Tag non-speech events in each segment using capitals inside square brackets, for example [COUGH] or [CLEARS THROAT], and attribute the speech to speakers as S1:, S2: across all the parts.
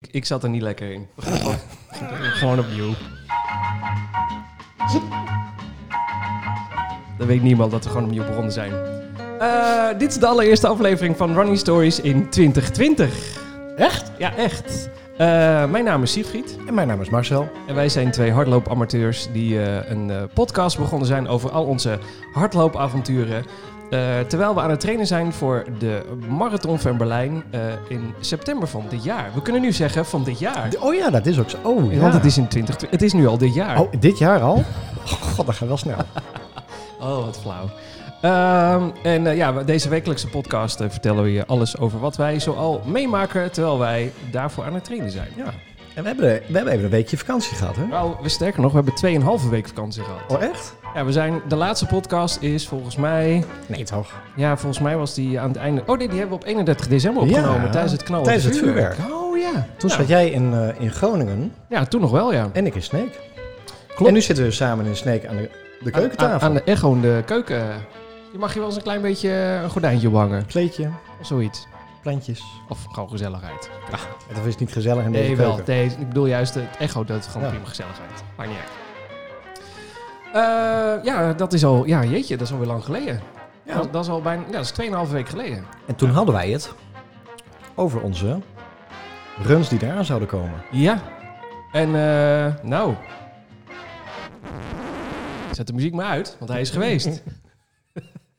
S1: Ik, ik zat er niet lekker in.
S2: Gewoon opnieuw.
S1: Dan weet niemand dat we gewoon opnieuw begonnen zijn. Eh, dit is de allereerste aflevering van Running Stories in 2020.
S2: Echt?
S1: Ja, echt. Eh, mijn naam is Siegfried
S2: En mijn naam is Marcel.
S1: en wij zijn twee hardloopamateurs die eh, een eh, podcast begonnen zijn over al onze hardloopavonturen. Eh, terwijl we aan het trainen zijn voor de Marathon van Berlijn eh, in september van dit jaar. We kunnen nu zeggen van dit jaar.
S2: Oh ja, dat is ook zo. Oh, ja.
S1: Want het is in 2020. Het is nu al dit jaar.
S2: [LAUGHS] Oh, dit jaar al? God, dat gaat wel snel.
S1: Oh, wat flauw. Ehm, en eh, ja, deze wekelijkse podcast eh, vertellen we je alles over wat wij zoal meemaken terwijl wij daarvoor aan het trainen zijn.
S2: Ja. En we hebben, we hebben even een weekje vakantie gehad, hè?
S1: Nou, we sterker nog, we hebben tweeënhalve week vakantie gehad.
S2: Oh, echt?
S1: Ja, we zijn, de laatste podcast is volgens mij,
S2: Nee, toch?
S1: ja, volgens mij was die aan het einde, oh nee, die hebben we op 31 december opgenomen,
S2: Ja,
S1: tijdens het knallen.
S2: tijdens het
S1: Oh ja.
S2: Toen
S1: nou,
S2: zat jij in, eh, in Groningen
S1: ja, toen nog wel, ja.
S2: en ik in Sneek.
S1: Klopt.
S2: En nu zitten we samen in Sneek aan de, de keukentafel.
S1: Aan, aan de echo in de keuken. Je mag je wel eens een klein beetje eh, een gordijntje hangen,
S2: Kleedje,
S1: of zoiets.
S2: plantjes.
S1: Of gewoon gezelligheid.
S2: Dat is niet gezellig in deze
S1: Nee, wel.
S2: keuken.
S1: Nee, ik bedoel juist het echo, dat is gewoon
S2: Ja.
S1: prima gezelligheid. Maar niet uit. Eh, ja, dat is al... Ja, jeetje, dat is alweer lang geleden.
S2: Ja.
S1: Dat, dat is al bijna... Ja, dat is 2,5 week geleden.
S2: En toen hadden wij het over onze runs die eraan zouden komen.
S1: Ja. En, eh, nou... Zet de muziek maar uit, want hij is geweest.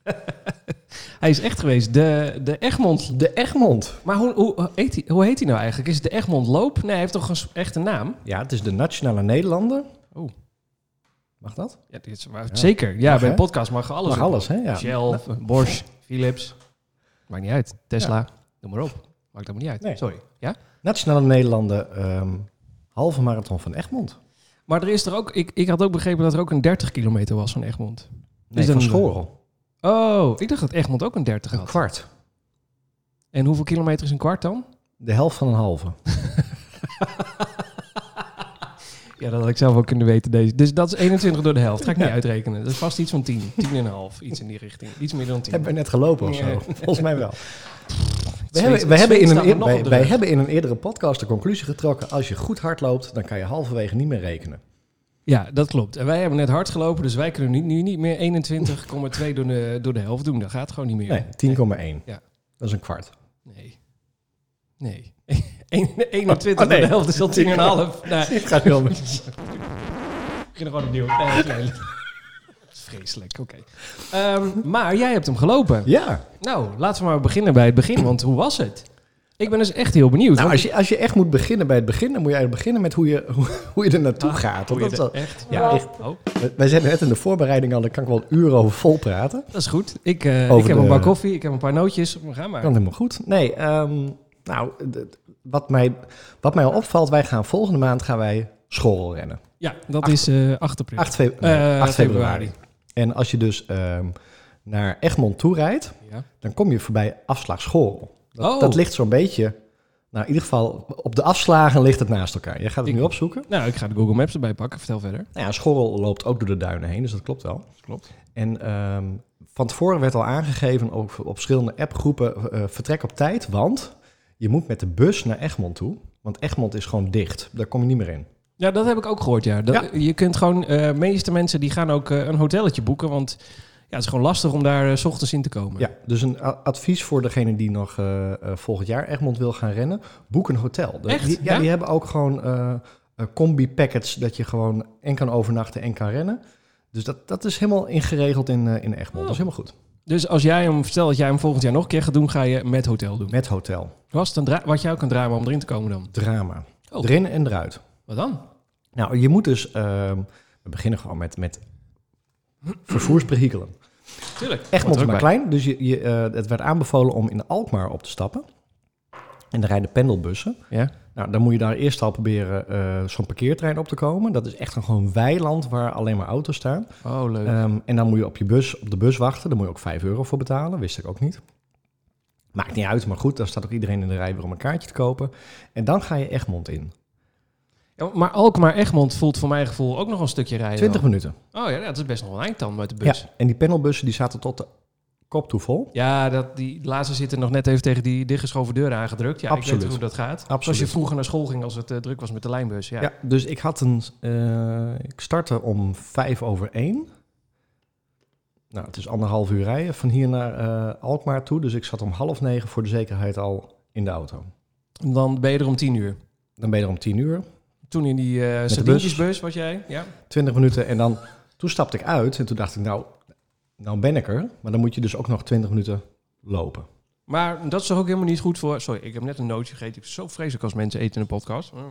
S1: [LAUGHS] hij is echt geweest. De, de Egmond...
S2: De Egmond.
S1: Maar hoe, hoe, heet hij, hoe heet hij nou eigenlijk? Is het de Egmond Loop? Nee, hij heeft toch een s- echte naam?
S2: Ja, het is de Nationale Nederlander.
S1: Oh.
S2: Mag dat?
S1: Ja, dit is, Zeker. Ja,
S2: Mag,
S1: bij een
S2: hè?
S1: podcast mag alles
S2: Mag
S1: op.
S2: alles, hè? Ja.
S1: Shell, Bosch, Philips. Maakt niet uit. Tesla, noem maar op. Maakt helemaal niet uit.
S2: Nee.
S1: Sorry. Ja?
S2: Nationale Nederlanden, ehm, halve marathon van Egmond.
S1: Maar er is er ook, ik, ik had ook begrepen dat er ook een 30 kilometer was van Egmond.
S2: Nee,
S1: Is
S2: van
S1: een-
S2: Schorel.
S1: Oh, ik dacht dat Egmond ook een 30 had.
S2: kwart.
S1: En hoeveel kilometer is een kwart dan?
S2: De helft van een halve.
S1: Ja, dat had ik zelf ook kunnen weten. Deze. Dus dat is 21 door de helft. Ga ik niet uitrekenen. Dat is vast iets van 10, 10,5. Iets in die richting. Iets meer dan 10.
S2: Hebben we net gelopen of zo?
S1: Nee.
S2: [LAUGHS] Volgens mij wel.
S1: Het
S2: We
S1: zweet-
S2: hebben, we
S1: het
S2: hebben
S1: zweet
S2: in
S1: staat
S2: een,
S1: me
S2: eer-
S1: nog op
S2: wij,
S1: de
S2: wij
S1: rug.
S2: hebben in een eerdere podcast de conclusie getrokken... als je goed hard loopt, dan kan je halverwege niet meer rekenen.
S1: Ja, dat klopt. En wij hebben net hard gelopen, dus wij kunnen nu, nu niet meer 21,2 door de, door de helft doen. Dat gaat gewoon niet meer.
S2: Nee, 10,1.
S1: Ja.
S2: Dat is een kwart.
S1: Nee. Nee. [LAUGHS] Eén- 21
S2: Oh, nee.
S1: door de helft is al 10,5.
S2: [LAUGHS]
S1: Nee,
S2: [LAUGHS] Ik ga nu al met-
S1: we beginnen gewoon [LAUGHS] opnieuw. Nee, dat is lelijk. Dat is Vreselijk, oké. Ehm, maar jij hebt hem gelopen.
S2: Ja.
S1: Nou, laten we maar beginnen bij het begin, want hoe was het? Ik ben dus echt heel benieuwd.
S2: Nou,
S1: want-
S2: als je, als je echt moet beginnen bij het begin... dan moet je eigenlijk beginnen met hoe je, [LAUGHS] hoe, hoe je er naartoe gaat.
S1: Ah, Hoe
S2: Want
S1: je
S2: dat is
S1: de-
S2: wel-
S1: echt?
S2: ja, echt.
S1: Oh,
S2: We- Wij zijn net in de voorbereiding al, daar kan ik wel uren over vol praten.
S1: dat is goed. Ik, eh, ik
S2: Over
S1: heb
S2: de-
S1: een bak koffie, ik heb een paar nootjes. We gaan maar.
S2: Kan helemaal goed. Nee, ehm, nou, d- wat mij, wat mij al opvalt, wij gaan volgende maand gaan wij school rennen.
S1: Ja, dat
S2: Acht-
S1: is eh 8 april.
S2: 8, fe- nee,
S1: Eh,
S2: 8 februari. En als je dus ehm, naar Egmond toe rijdt,
S1: Ja.
S2: dan kom je voorbij afslag school. Dat,
S1: Oh.
S2: dat ligt zo'n beetje, nou in ieder geval op de afslagen ligt het naast elkaar. Je gaat het
S1: Ik-
S2: nu opzoeken.
S1: Nou, ik ga de Google Maps erbij pakken. Vertel verder.
S2: Nou ja, Schorrel loopt ook door de duinen heen, dus dat klopt wel.
S1: Klopt.
S2: En ehm, van tevoren werd al aangegeven op, op verschillende appgroepen: eh, vertrek op tijd, want je moet met de bus naar Egmond toe. Want Egmond is gewoon dicht. Daar kom je niet meer in.
S1: Ja, dat heb ik ook gehoord, ja. Dat,
S2: Ja.
S1: Je kunt gewoon, eh meeste mensen die gaan ook eh, een hotelletje boeken, want ja, het is gewoon lastig om daar eh, s ochtends in te komen.
S2: Ja, dus een a- advies voor degene die nog eh, eh, volgend jaar Egmond wil gaan rennen: boek een hotel. De-
S1: Echt?
S2: Die, ja,
S1: Ja?
S2: die hebben ook gewoon eh, eh, combi-packets dat je gewoon en kan overnachten en kan rennen. Dus dat, dat is helemaal ingeregeld in, eh, in Egmond.
S1: Oh.
S2: Dat is helemaal goed.
S1: Dus als jij hem, stel dat jij hem volgend jaar nog een keer gaat doen, ga je met hotel doen.
S2: Met hotel.
S1: Was het een dra- wat jij ook een drama om erin te komen dan?
S2: Drama.
S1: Oh.
S2: Erin en eruit.
S1: Wat dan?
S2: Nou, je moet dus... ehm, we beginnen gewoon met, met vervoersperikelen.
S1: Tuurlijk.
S2: Egmond is
S1: Hoort er ook
S2: maar
S1: bij.
S2: klein, dus je, je, eh, het werd aanbevolen om in Alkmaar op te stappen. En er rijden pendelbussen.
S1: Ja.
S2: Nou, dan moet je daar eerst al proberen eh, zo'n parkeertrein op te komen. Dat is echt een gewoon weiland waar alleen maar auto's staan.
S1: Oh, leuk.
S2: Ehm, en dan moet je op, je bus, op de bus wachten. Daar moet je ook 5 euro voor betalen. Wist ik ook niet. Maakt niet uit, maar goed, dan staat ook iedereen in de rij weer om een kaartje te kopen. En dan ga je Egmond in.
S1: Ja, maar Alkmaar Egmond voelt voor mijn gevoel ook nog een stukje rijden.
S2: 20 minuten.
S1: Oh ja, dat is best nog wel een eind dan met de
S2: Ja,
S1: bus.
S2: en die panelbussen die zaten tot de kop toe vol.
S1: Ja, dat, die laatste zitten nog net even tegen die dichtgeschoven deur aangedrukt. Ja, ik
S2: Absoluut.
S1: weet hoe dat gaat.
S2: Absoluut.
S1: Zoals je vroeger naar school ging als het eh, druk was met de lijnbus. Ja.
S2: Ja. dus ik had een. eh, ik startte om vijf over één. Nou, het is anderhalf uur rijden van hier naar eh, Alkmaar toe. Dus ik zat om half negen voor de zekerheid al in de auto.
S1: Dan ben je er om tien uur.
S2: Dan ben je er om tien uur,
S1: Toen in die eh
S2: bus.
S1: sardientjesbus was jij. Ja.
S2: twintig minuten. En dan, toen stapte ik uit en toen dacht ik, nou, nou ben ik er. Maar dan moet je dus ook nog twintig minuten lopen.
S1: Maar dat is toch ook helemaal niet goed voor... Sorry, ik heb net een nootje gegeten. Ik vind het zo vreselijk als mensen eten in een podcast. Mhm.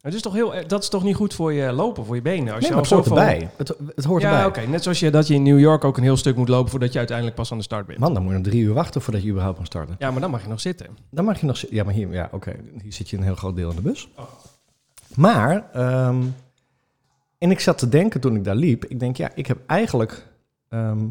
S1: Het is toch heel, eh, dat is toch niet goed voor je lopen, voor je benen? Als
S2: Nee,
S1: je
S2: maar
S1: al
S2: het hoort
S1: zoveel-
S2: erbij. Het, het hoort
S1: ja,
S2: erbij.
S1: oké. Net zoals je, dat je in New York ook een heel stuk moet lopen voordat je uiteindelijk pas aan de start bent.
S2: Man, dan moet je nog drie uur wachten voordat je überhaupt kan starten.
S1: Ja, maar dan mag je nog zitten.
S2: Dan mag je nog... zi- Ja, maar hier, ja, oké. Hier zit je een heel groot deel in de bus.
S1: Oh.
S2: Maar, ehm, en ik zat te denken toen ik daar liep. Ik denk, ja, ik heb eigenlijk... ehm,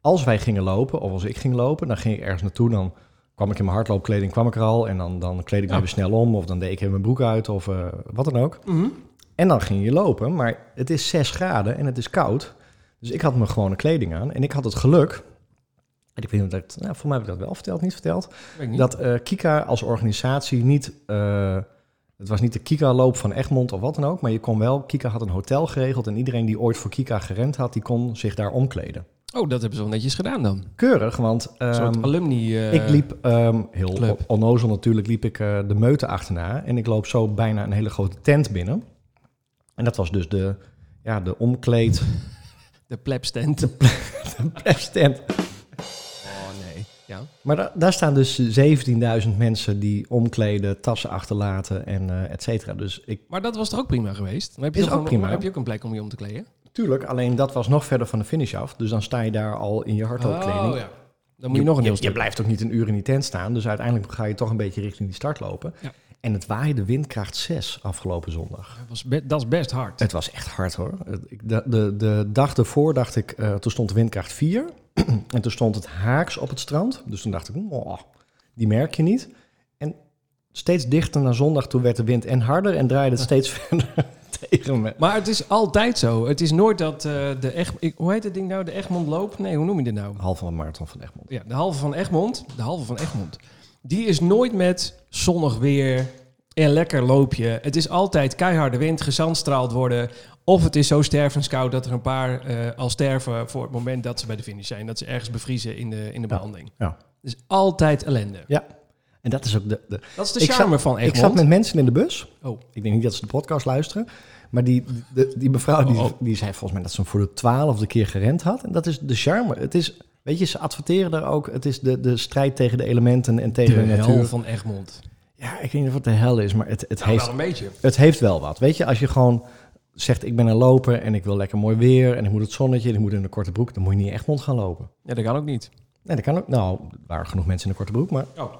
S2: als wij gingen lopen, of als ik ging lopen, dan ging ik ergens naartoe. Dan kwam ik in mijn hardloopkleding, kwam ik er al. En dan, dan kleed ik me
S1: Ja.
S2: weer snel om. Of dan deed ik even mijn broek uit, of eh, wat dan ook.
S1: Mhm.
S2: En dan ging je lopen, maar het is 6 graden en het is koud. Dus ik had mijn gewone kleding aan. En ik had het geluk... En ik weet niet of ik dat... Nou, voor mij heb ik dat wel verteld, niet verteld.
S1: Weet ik niet.
S2: Dat eh, Kika als organisatie niet. eh, het was niet de Kika-loop van Egmond of wat dan ook. Maar je kon wel. Kika had een hotel geregeld. En iedereen die ooit voor Kika gerend had, die kon zich daar omkleden.
S1: Oh, dat hebben ze wel netjes gedaan dan.
S2: Keurig, want.
S1: Een soort
S2: ehm,
S1: alumni... eh,
S2: ik liep ehm, heel
S1: club.
S2: on- onnozel natuurlijk, liep ik eh, de meute achterna. En ik loop zo bijna een hele grote tent binnen. En dat was dus de, ja,
S1: [LAUGHS]
S2: de omkleed
S1: De plebstand.
S2: tent.
S1: Oh nee. Ja.
S2: Maar da- daar staan dus 17.000 mensen die omkleden, tassen achterlaten en eh et cetera. Dus ik
S1: Maar dat was toch ook prima geweest? Dan heb je
S2: Is
S1: toch
S2: ook
S1: gewoon-
S2: prima.
S1: heb je ook een plek om je om te kleden?
S2: Tuurlijk, alleen dat was nog verder van de finish af. Dus dan sta je daar al in je hardloopkleding.
S1: Oh ja. Dan moet je, nog een heel
S2: je,
S1: stuk.
S2: blijft ook niet een uur in die tent staan. Dus uiteindelijk ga je toch een beetje richting die start lopen.
S1: Ja.
S2: En het waaide windkracht 6 afgelopen zondag.
S1: Dat, was be- dat is best hard.
S2: Het was echt hard hoor. Het- ik- De, de, de dag ervoor dacht ik, eh, toen stond windkracht 4. [CLEARS THROAT] en toen stond het haaks op het strand. Dus toen dacht ik, "Oh, die merk je niet. En steeds dichter naar zondag toe werd de wind en harder. En draaide het steeds [LAUGHS] verder tegen me.
S1: Maar het is altijd zo. Het is nooit dat eh, de Eg- ik, Hoe heet het ding nou? De Egmond loopt? Nee, hoe noem je dit nou?
S2: Half van de marathon van Egmond.
S1: Ja, de halve van Egmond. De halve van Egmond. Die is nooit met zonnig weer en lekker loopje. Het is altijd keiharde wind, gezandstraald worden. Of het is zo stervenskoud dat er een paar eh, al sterven voor het moment dat ze bij de finish zijn. Dat ze ergens bevriezen in de, in de
S2: Ja.
S1: behandeling.
S2: Ja.
S1: Het is altijd ellende.
S2: Ja, en dat is ook de... de
S1: Dat is de
S2: Ik
S1: charme van
S2: ik
S1: Egmond.
S2: zat met mensen in de bus.
S1: Oh.
S2: Ik denk niet dat ze de podcast luisteren. Maar die, de- die mevrouw die,
S1: Oh, oh.
S2: die zei volgens mij dat ze hem voor de twaalfde keer gerend had. En dat is de charme. Het is, weet je, ze adverteren daar ook. Het is de, de strijd tegen de elementen en
S1: De
S2: tegen de,
S1: hel
S2: natuur.
S1: van Egmond.
S2: Ja, ik weet niet of het de hel is, maar het, het,
S1: Nou,
S2: heeft,
S1: wel een beetje.
S2: het heeft wel wat. Weet je, als je gewoon zegt ik ben een loper en ik wil lekker mooi weer. En ik moet het zonnetje en ik moet in een korte broek. Dan moet je niet in Egmond gaan lopen.
S1: Ja, dat kan ook niet.
S2: Nee, dat kan ook. Nou, er waren genoeg mensen in een korte broek, maar
S1: Oh,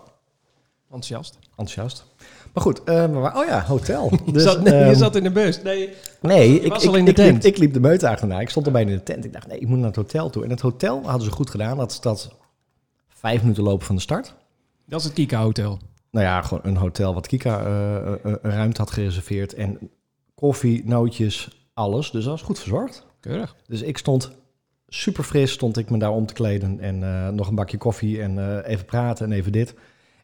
S1: enthousiast.
S2: enthousiast. Maar goed, eh, maar, waar- oh
S1: [LAUGHS]
S2: ja, hotel. Dus,
S1: je, zat, nee, je
S2: ehm,
S1: zat in de bus. Nee.
S2: Nee, ik,
S1: was
S2: ik,
S1: al in de
S2: ik liep-
S1: tent.
S2: Ik, liep de meute achterna. Ik stond er bijna in de tent. Ik dacht, nee, ik moet naar het hotel toe. En het hotel hadden ze goed gedaan. Dat dat vijf minuten lopen van de start.
S1: Dat is het Kika Hotel.
S2: Nou ja, gewoon een hotel wat Kika eh, eh, een ruimte had gereserveerd. En koffie, nootjes, alles. Dus dat was goed verzorgd.
S1: Keurig.
S2: Dus ik stond super fris, stond ik me daar om te kleden. En eh, nog een bakje koffie en eh, even praten en even dit.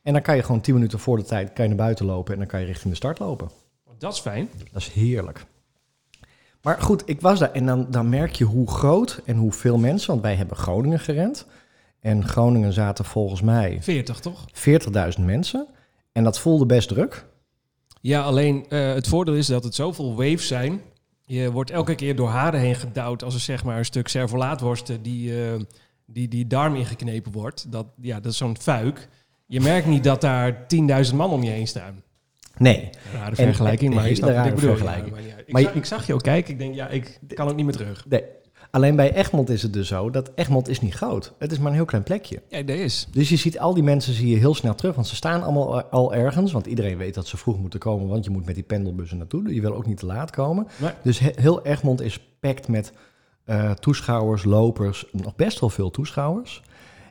S2: En dan kan je gewoon tien minuten voor de tijd kan je naar buiten lopen. En dan kan je richting de start lopen.
S1: Dat is fijn.
S2: Dat is heerlijk. Maar goed, ik was daar en dan, dan merk je hoe groot en hoeveel mensen, want wij hebben Groningen gerend. En Groningen zaten volgens mij
S1: 40, toch?
S2: 40.000 mensen. En dat voelde best druk.
S1: Ja, alleen eh, het voordeel is dat het zoveel waves zijn. Je wordt elke keer door haren heen gedouwd als er zeg maar een stuk servolaatworsten die, eh, die, die darm ingeknepen wordt. Dat, ja, dat is zo'n fuik. Je merkt niet dat daar 10.000 man om je heen staan.
S2: Nee.
S1: Rare
S2: En-
S1: vergelijking, maar
S2: hele
S1: je snapt wat
S2: rare
S1: ik bedoel.
S2: vergelijking.
S1: Ja, maar ja, ik,
S2: Maar je-
S1: zag, ik zag je ook kijken. Ik denk, ja, ik kan ook niet meer terug.
S2: nee. Alleen bij Egmond is het dus zo dat Egmond is niet groot. Het is maar een heel klein plekje.
S1: Ja, dat is.
S2: Dus je ziet al die mensen zie je heel snel terug, want ze staan allemaal al ergens. Want iedereen weet dat ze vroeg moeten komen, want je moet met die pendelbussen naartoe. Je wil ook niet te laat komen.
S1: Nee.
S2: Dus he- heel Egmond is packed met eh, toeschouwers, lopers, nog best wel veel toeschouwers.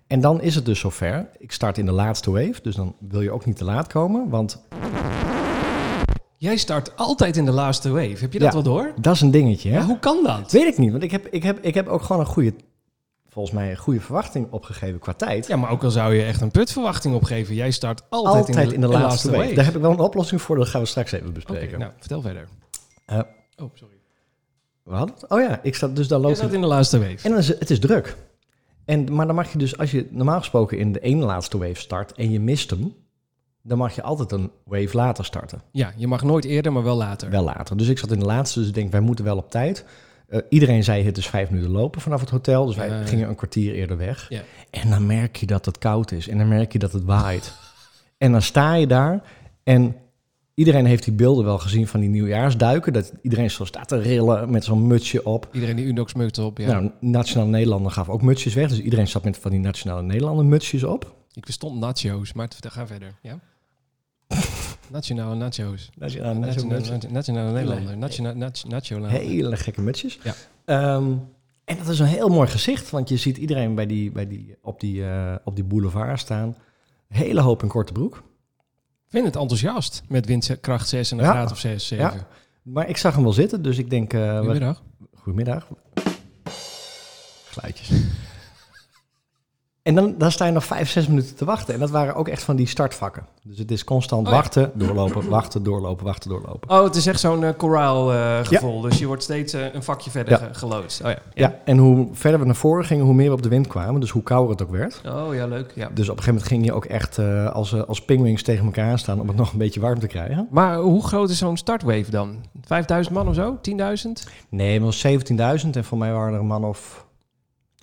S2: En dan is het dus zover. Ik start in de laatste wave, dus dan wil je ook niet te laat komen. Want
S1: Jij start altijd in de laatste wave. Heb je dat
S2: Ja.
S1: wel door?
S2: dat is een dingetje, hè?
S1: Ja, hoe kan dat?
S2: Weet ik niet, want ik heb, ik, heb, ik heb ook gewoon een goede... volgens mij een goede verwachting opgegeven qua tijd.
S1: Ja, maar ook al zou je echt een putverwachting opgeven, jij start altijd,
S2: Altijd,
S1: in, de,
S2: laatste, wave. Daar heb ik wel een oplossing voor, dat gaan we straks even
S1: Oké,
S2: bespreken.
S1: nou, vertel verder.
S2: Eh,
S1: Oh, sorry.
S2: we hadden het? Oh ja, ik sta, dus daar
S1: Jij
S2: loopt
S1: staat in de laatste wave.
S2: En dan is het, het is druk. En, maar dan mag je dus, als je normaal gesproken in de ene laatste wave start en je mist hem, dan mag je altijd een wave later starten.
S1: Ja, je mag nooit eerder, maar wel later.
S2: Wel later. Dus ik zat in de laatste, dus ik denk, wij moeten wel op tijd. Eh, iedereen zei, het is vijf minuten lopen vanaf het hotel, dus wij
S1: Ja.
S2: gingen een kwartier eerder weg.
S1: Ja.
S2: En dan merk je dat het koud is en dan merk je dat het waait. En dan sta je daar en iedereen heeft die beelden wel gezien van die nieuwjaarsduiken, dat iedereen zo staat te rillen met zo'n mutsje op.
S1: Iedereen die Unox mukt op, ja.
S2: Nou, Nationale Nederlander gaf ook mutsjes weg. Dus iedereen zat met van die Nationale Nederlander mutsjes op.
S1: Ik verstond nacho's, maar het- ga verder.
S2: [LAUGHS]
S1: Ja? Nationale nacho's.
S2: Nationale
S1: Nationale, nationale Nederlander.
S2: Nee.
S1: Nationale nacho, nacho,
S2: Hele gekke mutsjes.
S1: Ja.
S2: Ehm, en dat is een heel mooi gezicht. Want je ziet iedereen bij die, bij die, op, die, eh, op die boulevard staan. Hele hoop in korte broek.
S1: Ik vind het enthousiast met windkracht 6 en een
S2: Ja.
S1: graad of 6, 7.
S2: Ja. Maar ik zag hem wel zitten, dus ik denk... eh, we-
S1: Goedemiddag.
S2: Goedemiddag. Geluidjes. En dan, dan sta je nog vijf, zes minuten te wachten. En dat waren ook echt van die startvakken. Dus het is constant
S1: Oh ja.
S2: wachten, doorlopen, wachten, doorlopen, wachten, doorlopen.
S1: Oh, het is echt zo'n eh, koraal eh, gevoel. Dus je wordt steeds eh, een vakje verder
S2: Ja.
S1: ge- geloodst. Oh ja.
S2: Ja, en hoe verder we naar voren gingen, hoe meer we op de wind kwamen. Dus hoe kouder het ook werd.
S1: Oh ja, leuk. Ja.
S2: Dus op een gegeven moment ging je ook echt eh, als, eh, als pingwings tegen elkaar aanstaan om het [LAUGHS] nog een beetje warm te krijgen.
S1: Maar hoe groot is zo'n startwave dan? 5000 man of zo? 10.000?
S2: Nee, maar het was 17.000 en voor mij waren er een man of,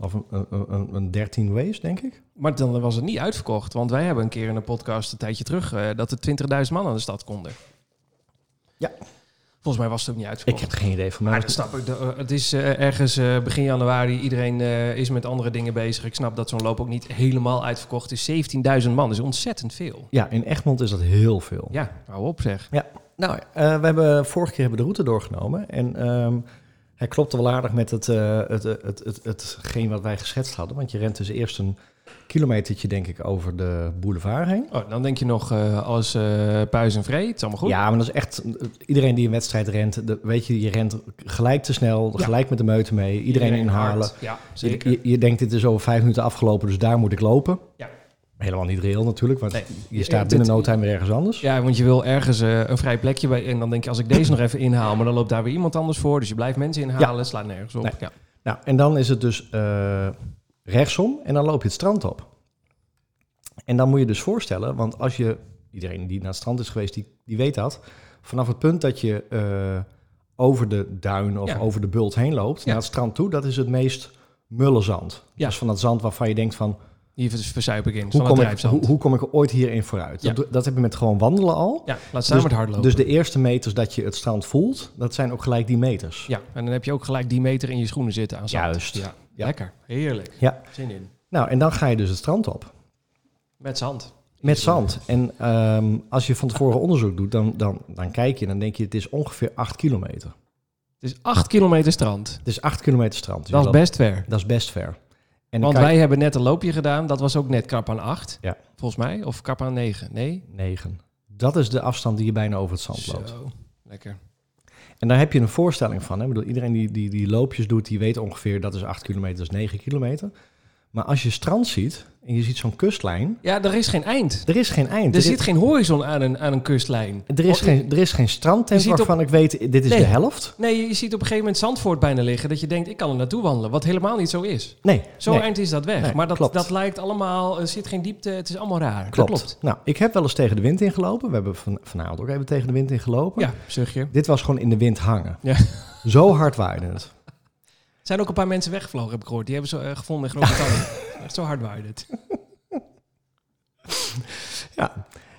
S2: of een, een, een, een 13 waves, denk ik.
S1: Maar dan was het niet uitverkocht. Want wij hebben een keer in een podcast een tijdje terug... eh, dat er 20.000 man aan de stad konden.
S2: Ja.
S1: Volgens mij was het ook niet uitverkocht.
S2: Ik heb geen idee van
S1: Maar
S2: mij.
S1: dat snap ik. De- Het is eh, ergens eh, begin januari. Iedereen eh, is met andere dingen bezig. Ik snap dat zo'n loop ook niet helemaal uitverkocht is. 17.000 man is ontzettend veel.
S2: Ja, in Egmond is dat heel veel.
S1: Ja, hou op zeg.
S2: Nou, eh, we hebben vorige keer hebben we de route doorgenomen. En ehm, hij klopte wel aardig met het, eh, het, het, het, het, hetgeen wat wij geschetst hadden. Want je rent dus eerst een kilometertje, denk ik, over de boulevard heen.
S1: Oh, dan denk je nog eh, alles eh, puis en vreed. Het is allemaal goed.
S2: Ja, maar dat is echt... Iedereen die een wedstrijd rent, de- weet je, je rent gelijk te snel,
S1: Ja.
S2: gelijk met de meute mee. Iedereen, inhalen.
S1: hard. Ja,
S2: Je,
S1: zeker.
S2: je, je denkt, dit is over vijf minuten afgelopen, dus daar moet ik lopen.
S1: Ja.
S2: Helemaal niet reëel natuurlijk, want
S1: Nee.
S2: je staat
S1: Ja,
S2: binnen
S1: dit-
S2: no time weer ergens anders.
S1: Ja, want je wil ergens eh, een vrij plekje bij. En dan denk je, als ik deze nog even inhaal, maar dan loopt daar weer iemand anders voor. Dus je blijft mensen inhalen, slaat nergens op.
S2: Nee.
S1: Ja.
S2: Nou, en dan is het dus eh, rechtsom en dan loop je het strand op. En dan moet je dus voorstellen, want als je, iedereen die naar het strand is geweest, die, die weet dat. Vanaf het punt dat je eh, over de duin of
S1: Ja.
S2: over de bult heen loopt
S1: Ja.
S2: naar het strand toe, dat is het meest mullenzand.
S1: Ja.
S2: Dus van dat zand waarvan je denkt van,
S1: Hier verzuip ik in.
S2: hoe
S1: Van het
S2: kom, ik,
S1: drijfzand.
S2: hoe, hoe kom ik er ooit hierin vooruit?
S1: Ja.
S2: Dat, dat heb je met gewoon wandelen al.
S1: Ja, laat staan met hardlopen.
S2: Dus de eerste meters dat je het strand voelt, dat zijn ook gelijk die meters.
S1: Ja, en dan heb je ook gelijk die meter in je schoenen zitten aan zand.
S2: Juist.
S1: Ja.
S2: Ja.
S1: Lekker. Heerlijk.
S2: Ja.
S1: Zin in.
S2: Nou, en dan ga je dus het strand op.
S1: Met zand.
S2: Met zand. En ehm, als je van tevoren onderzoek doet, dan, dan, dan kijk je en dan denk je, het is ongeveer 8 kilometer.
S1: Het is 8 kilometer strand.
S2: Het is 8 kilometer strand. Dus
S1: dat
S2: je
S1: is
S2: loopt-
S1: best ver.
S2: dat is best ver. En dan
S1: Want
S2: kijk-
S1: wij hebben net een loopje gedaan. Dat was ook net krap aan 8.
S2: Ja.
S1: Volgens mij. Of krap aan 9. Nee.
S2: 9. Dat is de afstand die je bijna over het zand loopt.
S1: Zo. Lekker.
S2: En daar heb je een voorstelling van. Hè? Ik bedoel, iedereen die, die, die loopjes doet, die weet ongeveer dat is 8 kilometer, dat is 9 kilometer. Maar als je strand ziet en je ziet zo'n kustlijn,
S1: Ja, er is geen eind.
S2: er is geen eind.
S1: Er
S2: is-
S1: zit geen horizon aan een, aan een kustlijn.
S2: er is
S1: Oh,
S2: geen, er is geen strandtent
S1: Je ziet op-
S2: waarvan ik weet, dit is
S1: Nee.
S2: de helft.
S1: Nee, je ziet op een gegeven moment Zandvoort bijna liggen. Dat je denkt, ik kan er naartoe wandelen. Wat helemaal niet zo is.
S2: Nee,
S1: Zo
S2: nee.
S1: eind is dat weg.
S2: Nee,
S1: maar dat,
S2: klopt.
S1: dat lijkt allemaal... Er zit geen diepte. Het is allemaal raar. Dat
S2: Klopt. Nou, ik heb wel eens tegen de wind ingelopen. We hebben van, vanavond ook even tegen de wind ingelopen.
S1: Ja, zuchtje. Er
S2: Dit was gewoon in de wind hangen.
S1: Ja.
S2: Zo hard waaide het.
S1: zijn ook een paar mensen weggevlogen, heb ik gehoord. Die hebben ze eh, gevonden in Groot-Brittannië. Echt zo hard waaide het.
S2: Ja.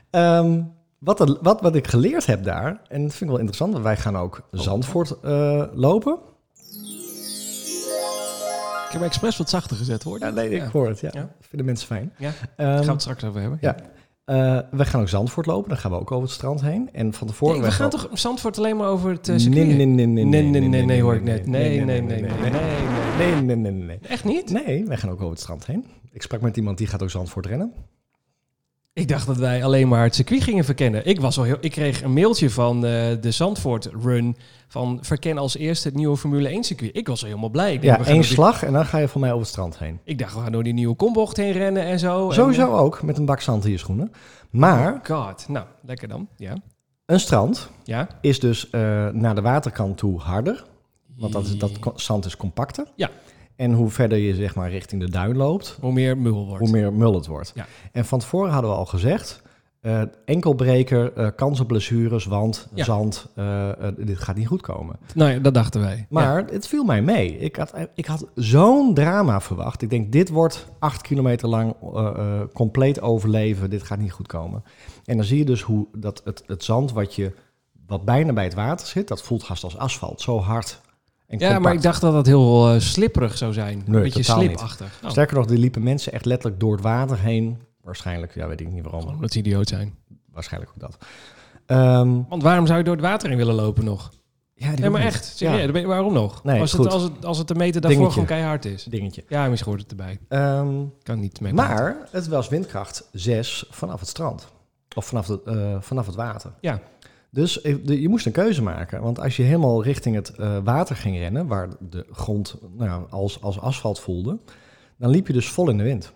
S2: Ehm, wat, er- wat, wat ik geleerd heb daar, en dat vind ik wel interessant, want wij gaan ook
S1: Oh.
S2: Zandvoort eh, lopen.
S1: Ik heb hem expres wat zachter gezet, hoor.
S2: Ja, nee, ik
S1: Ja.
S2: hoor het. Ja.
S1: Ja.
S2: Dat vinden mensen fijn.
S1: Ja,
S2: Ehm,
S1: Daar gaan we het straks over hebben.
S2: ja. eh, we gaan ook Zandvoort lopen. Dan gaan we ook over het strand heen. En van tevoren...
S1: Nee, we
S2: wij
S1: gaan toch Zandvoort alleen maar over het eh,
S2: Nee,
S1: circuit?
S2: nee, nee, nee, nee,
S1: nee, nee, nee, nee, hoor ik net. Nee, nee, nee, nee, nee,
S2: nee, nee, nee, nee.
S1: Echt niet?
S2: Nee, wij gaan ook over het strand heen. Ik sprak met iemand die gaat ook Zandvoort rennen.
S1: Ik dacht dat wij alleen maar het circuit gingen verkennen. Ik, was al heel, ik kreeg een mailtje van eh, de Zandvoort Run van verken als eerste het nieuwe Formule 1 circuit. Ik was al helemaal blij. Ik, dacht, we
S2: Ja,
S1: gaan
S2: één
S1: door die-
S2: slag en dan ga je van mij over het strand heen.
S1: ik dacht, we gaan door die nieuwe kombocht heen rennen en zo. Oh, En,
S2: Sowieso ook, met een bak zand in je schoenen. Maar
S1: eh, God, nou, lekker dan. Ja,
S2: een strand
S1: ja.
S2: is dus eh, naar de waterkant toe harder. Want dat, is- dat ko- zand is compacter.
S1: Ja.
S2: En hoe verder je zeg maar richting de duin loopt,
S1: Hoe meer mul wordt.
S2: hoe meer mul het wordt.
S1: Ja.
S2: En van tevoren hadden we al gezegd, eh, enkelbreker, eh, kans op blessures, want
S1: Ja.
S2: zand, eh, eh, dit gaat niet goed komen.
S1: Nou ja, dat dachten wij.
S2: Maar het viel mij mee. Ik had, ik had zo'n drama verwacht. Ik denk, dit wordt acht kilometer lang eh, eh, compleet overleven. Dit gaat niet goed komen. En dan zie je dus hoe dat het, het zand wat, je, wat bijna bij het water zit... dat voelt haast als asfalt. Zo hard en
S1: Ja, ja maar ik dacht dat dat heel eh, slipperig zou zijn.
S2: Nee,
S1: een beetje
S2: totaal niet.
S1: slipachtig. Oh,
S2: Sterker nog, er liepen mensen echt letterlijk door het water heen. Waarschijnlijk, ja, weet ik niet waarom.
S1: omdat ze idioot zijn.
S2: Waarschijnlijk ook dat. Ehm,
S1: Want waarom zou je door het water heen willen lopen nog?
S2: ja, die
S1: Nee, maar
S2: hoeft
S1: echt.
S2: Ja.
S1: Serieus, ben je- waarom nog?
S2: Nee,
S1: als,
S2: goed.
S1: het, als, het, als het de meter daarvoor
S2: Dingetje.
S1: gewoon keihard is.
S2: niet. Dingetje.
S1: Ja, misschien hoort het erbij.
S2: Ehm,
S1: Kan niet mee. praten.
S2: maar het was windkracht 6 vanaf het strand. Of vanaf, de, eh, vanaf het water.
S1: Ja.
S2: Dus eh, de- je moest een keuze maken. Want als je helemaal richting het eh, water ging rennen, waar de grond nou, ja, als, als asfalt voelde, dan liep je dus vol in de wind.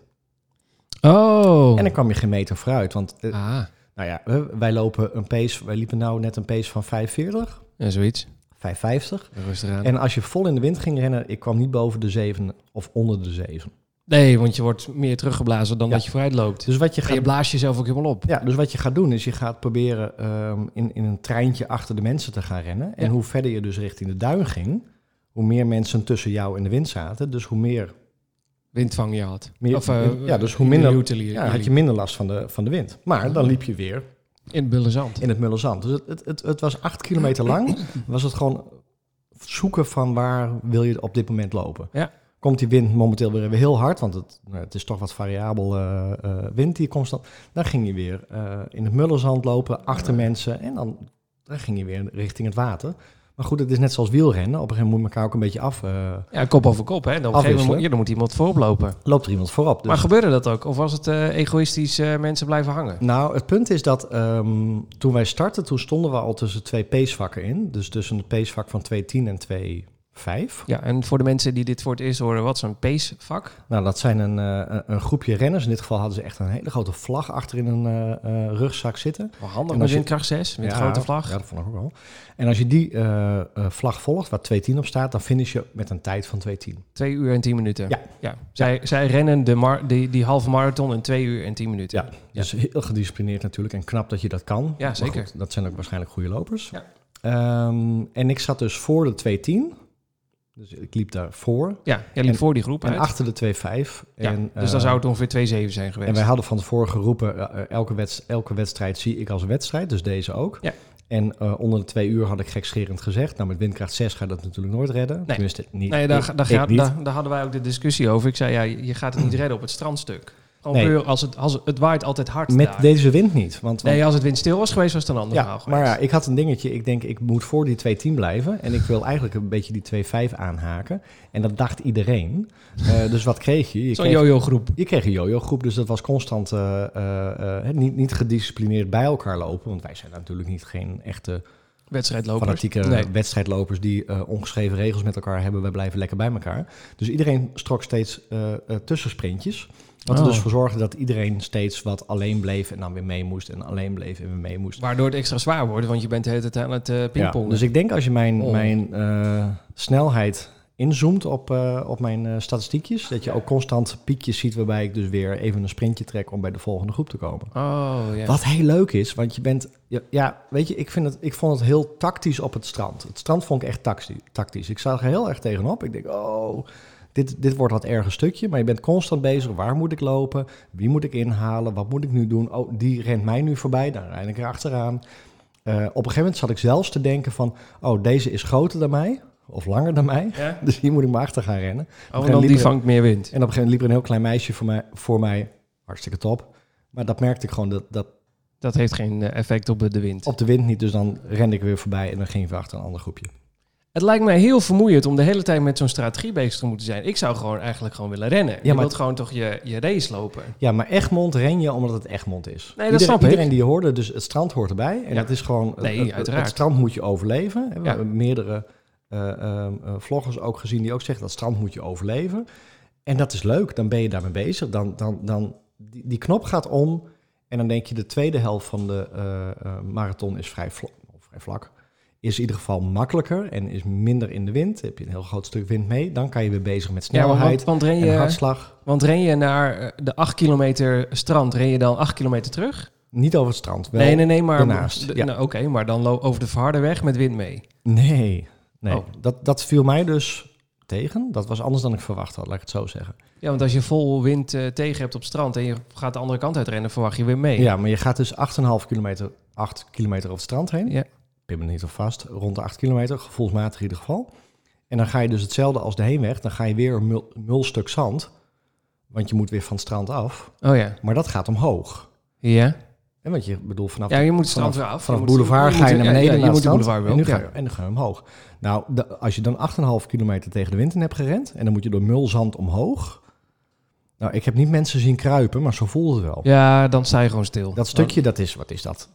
S1: Oh.
S2: En dan kwam je geen meter vooruit. Want eh,
S1: Ah,
S2: nou ja, eh, wij lopen een pace, wij liepen nou net een pace van 45,
S1: en zoiets.
S2: 550.
S1: Rustig aan.
S2: En als je vol in de wind ging rennen, ik kwam niet boven de 7 of onder de 7.
S1: Nee, want je wordt meer teruggeblazen dan
S2: Ja.
S1: dat je vooruit loopt.
S2: Dus wat je
S1: En je
S2: gaat,
S1: blaast jezelf ook helemaal op.
S2: ja, dus wat je gaat doen, is je gaat proberen ehm, in, in een treintje achter de mensen te gaan rennen. En
S1: Ja.
S2: hoe verder je dus richting de duin ging, hoe meer mensen tussen jou en de wind zaten. Dus hoe meer
S1: Windvang je had.
S2: Meer-
S1: of, eh,
S2: ja, dus hoe minder-
S1: jullie utili-
S2: Ja,
S1: jullie.
S2: had je minder last van de, van de wind. Maar dan liep je weer
S1: In het bulle zand.
S2: in het Mullenzand. Dus het, het, het, het was acht kilometer lang. Was het gewoon zoeken van waar wil je op dit moment lopen.
S1: Ja.
S2: Komt die wind momenteel weer even heel hard, want het, nou, het is toch wat variabel eh, eh, wind die constant. Dan ging je weer eh, in het Mullenzand lopen, achter mensen. En dan, dan ging je weer richting het water. Maar goed, het is net zoals wielrennen. Op een gegeven moment moet je elkaar ook een beetje af. eh,
S1: Ja, kop over kop. Hè. Dan, op een gegeven moment,
S2: Afwisselen.
S1: moet- ja, dan moet iemand voorop lopen.
S2: loopt er iemand voorop. Dus.
S1: Maar gebeurde dat ook? Of was het eh, egoïstisch eh, mensen blijven hangen?
S2: Nou, het punt is dat ehm, toen wij startten, toen stonden we al tussen twee pacevakken in. Dus tussen het pacevak van 210 en 25.
S1: Ja, en voor de mensen die dit voor het eerst horen, wat is een pacevak?
S2: Nou, dat zijn een, eh, een- een groepje renners. In dit geval hadden ze echt een hele grote vlag achter in een eh, eh, rugzak zitten.
S1: Wel handig
S2: En
S1: met
S2: als je-
S1: windkracht 6, met
S2: Ja,
S1: grote vlag.
S2: Ja, dat vond ik ook wel. En als je die eh, eh, vlag volgt, waar 210 op staat, dan finish je met een tijd van 210.
S1: Twee uur en tien minuten.
S2: Ja.
S1: Zij, zij rennen de mar- die, die halve marathon in twee uur en tien minuten.
S2: Ja, dus heel gedisciplineerd natuurlijk. En knap dat je dat kan. Maar
S1: zeker.
S2: goed, dat zijn ook waarschijnlijk goede lopers.
S1: Ja.
S2: Ehm, en ik zat dus voor de 210. Dus ik liep daarvoor.
S1: Ja, jij liep
S2: En-
S1: voor die groep
S2: En
S1: uit.
S2: achter de 2-5.
S1: Ja,
S2: en,
S1: dus dan
S2: eh,
S1: zou het ongeveer 2-7 zijn geweest.
S2: En wij hadden van tevoren geroepen, eh, eh, elke, wedst- elke wedstrijd zie ik als wedstrijd, dus deze ook.
S1: Ja.
S2: En eh, onder de twee uur had ik gekscherend gezegd, nou met windkracht 6 gaat dat natuurlijk nooit redden. Tenminste, niet,
S1: nee, daar,
S2: ik-
S1: daar,
S2: ik
S1: gaat-
S2: niet. Mm.
S1: daar, daar hadden wij ook de discussie over. Ik zei, ja, je gaat het niet redden op het strandstuk. Gewoon
S2: Nee.
S1: puur als het, als het, het waait altijd hard
S2: Met
S1: daar.
S2: deze wind niet. Want, want-
S1: Nee, als het windstil was geweest, was het een ander verhaal
S2: ja,
S1: geweest.
S2: maar ja, ik had een dingetje, ik denk ik moet voor die 2-10 blijven en ik wil eigenlijk een beetje die 2-5 aanhaken. En dat dacht
S1: [LAUGHS]
S2: iedereen. Eh, dus wat kreeg je? Je
S1: Zo'n
S2: kreeg
S1: jojo groep.
S2: Je kreeg een jojo-groep, dus dat was constant eh, eh, eh, niet, niet gedisciplineerd bij elkaar lopen. Want wij zijn natuurlijk niet geen echte
S1: Wedstrijdlopers.
S2: fanatieke
S1: Nee.
S2: wedstrijdlopers die eh, ongeschreven regels met elkaar hebben. Wij blijven lekker bij elkaar. Dus iedereen strok steeds eh, eh, tussensprintjes. Wat er
S1: Oh.
S2: dus voor zorgde dat iedereen steeds wat alleen bleef en dan weer mee moest. En alleen bleef en weer mee moest.
S1: Waardoor het extra zwaar wordt, want je bent de hele tijd aan het eh, pingpongen.
S2: dus ik denk als je mijn,
S1: Oh.
S2: mijn eh, snelheid inzoomt op, eh, op mijn eh, statistiekjes, dat je ook constant piekjes ziet waarbij ik dus weer even een sprintje trek om bij de volgende groep te komen.
S1: Oh, ja.
S2: Wat heel leuk is, want je bent... Ja, ja, weet je, ik, vind het, ik vond het heel tactisch op het strand. Het strand vond ik echt tacti- tactisch. Ik zag er heel erg tegenop. Ik denk, oh, dit, dit wordt wat erger stukje. Maar je bent constant bezig. Waar moet ik lopen? Wie moet ik inhalen? Wat moet ik nu doen? Oh, die rent mij nu voorbij. Dan rijd ik er achteraan. Eh, op een gegeven moment zat ik zelfs te denken van... Oh, deze is groter dan mij. Of langer dan mij. [LAUGHS]
S1: Ja?
S2: Dus hier moet ik maar achter gaan rennen.
S1: Oh, en dan die vangt meer wind.
S2: En op een gegeven moment liep er een heel klein meisje voor mij. Voor mij hartstikke top. Maar dat merkte ik gewoon, dat, dat,
S1: Dat heeft geen eh, effect op de wind.
S2: op de wind niet, dus dan rende ik weer voorbij en dan ging we achter een ander groepje.
S1: Het lijkt mij heel vermoeiend om de hele tijd met zo'n strategie bezig te moeten zijn. Ik zou gewoon eigenlijk gewoon willen rennen. je
S2: maar-
S1: wilt gewoon toch je, je race lopen.
S2: Ja, maar Egmond ren je omdat het Egmond is.
S1: dat
S2: iedereen,
S1: snap ik.
S2: Iedereen die je hoorde, dus het strand hoort erbij. En
S1: Ja.
S2: het is gewoon, het-
S1: Nee,
S2: het, het-
S1: uiteraard.
S2: het strand moet je overleven. We
S1: Ja.
S2: hebben meerdere eh, ehm, eh, vloggers ook gezien die ook zeggen dat strand moet je overleven. En dat is leuk, dan ben je daarmee bezig. Dan, dan, dan, die, die knop gaat om en dan denk je de tweede helft van de eh, eh, marathon is vrij, vla- of vrij vlak. Is in ieder geval makkelijker en is minder in de wind. Heb je een heel groot stuk wind mee. Dan kan je weer bezig met
S1: Ja, want-
S2: snelheid
S1: want, want, ren
S2: en
S1: je,
S2: hartslag.
S1: want ren je naar eh, de 8 kilometer strand, ren je dan 8 kilometer terug?
S2: Niet over het strand. Wel
S1: nee, nee, nee, maar
S2: daarnaast,
S1: de-
S2: ja.
S1: nou, Oké, maar dan lo- over de verharde weg met wind mee.
S2: Nee, nee.
S1: Oh.
S2: Dat, dat viel mij dus tegen. Dat was anders dan ik verwacht had, laat ik het zo zeggen.
S1: Ja, want als je vol wind eh, tegen hebt op strand en je gaat de andere kant uitrennen, verwacht je weer mee.
S2: Ja, maar je gaat dus 8,5 kilometer, 8 kilometer over het strand heen.
S1: Ja.
S2: Ik ben me niet op vast, rond de 8 kilometer, gevoelsmatig in ieder geval. En dan ga je dus hetzelfde als de heenweg. Dan ga je weer een mul, mul stuk zand, want je moet weer van het strand af.
S1: Oh ja.
S2: Maar dat gaat omhoog.
S1: Ja.
S2: En want je ik bedoel vanaf...
S1: Ja, je moet het strand
S2: vanaf-
S1: weer af.
S2: Vanaf
S1: Je moet-
S2: boulevard
S1: je
S2: ga je
S1: moet-
S2: naar
S1: ja,
S2: beneden
S1: ja,
S2: naar
S1: je moet
S2: het
S1: de boulevard
S2: strand.
S1: weer
S2: en, nu
S1: op,
S2: ga
S1: ja.
S2: je, en dan ga je omhoog. Nou, de- als je dan 8,5 kilometer tegen de wind in hebt gerend... en dan moet je door mulzand omhoog... Nou, ik heb niet mensen zien kruipen, maar zo voelde het wel.
S1: Ja, dan sta je gewoon stil.
S2: Dat stukje, dat is, wat is dat?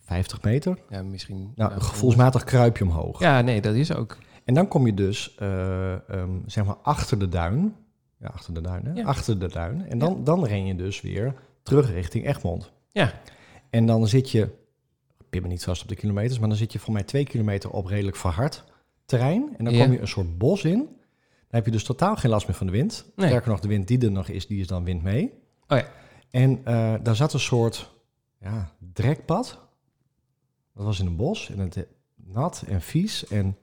S2: 50 meter?
S1: Dan- ja, misschien.
S2: Nou,
S1: ja,
S2: gevoelsmatig kruip je omhoog.
S1: Ja, nee, dat is ook.
S2: En dan kom je dus, eh, ehm, zeg maar, achter de duin. Ja, achter de duin, hè?
S1: Ja.
S2: Achter de duin. En dan, dan ren je dus weer terug richting Egmond.
S1: Ja.
S2: En dan zit je, ik pin me niet vast op de kilometers, maar dan zit je voor mij twee kilometer op redelijk verhard terrein. En dan
S1: Ja.
S2: kom je een soort bos in. Dan heb je dus totaal geen last meer van de wind.
S1: Nee.
S2: Sterker nog, de wind die er nog is, die is dan wind mee.
S1: Oh ja.
S2: En eh, daar zat een soort ja, drekpad. Dat was in een bos en het eh, nat en vies. En,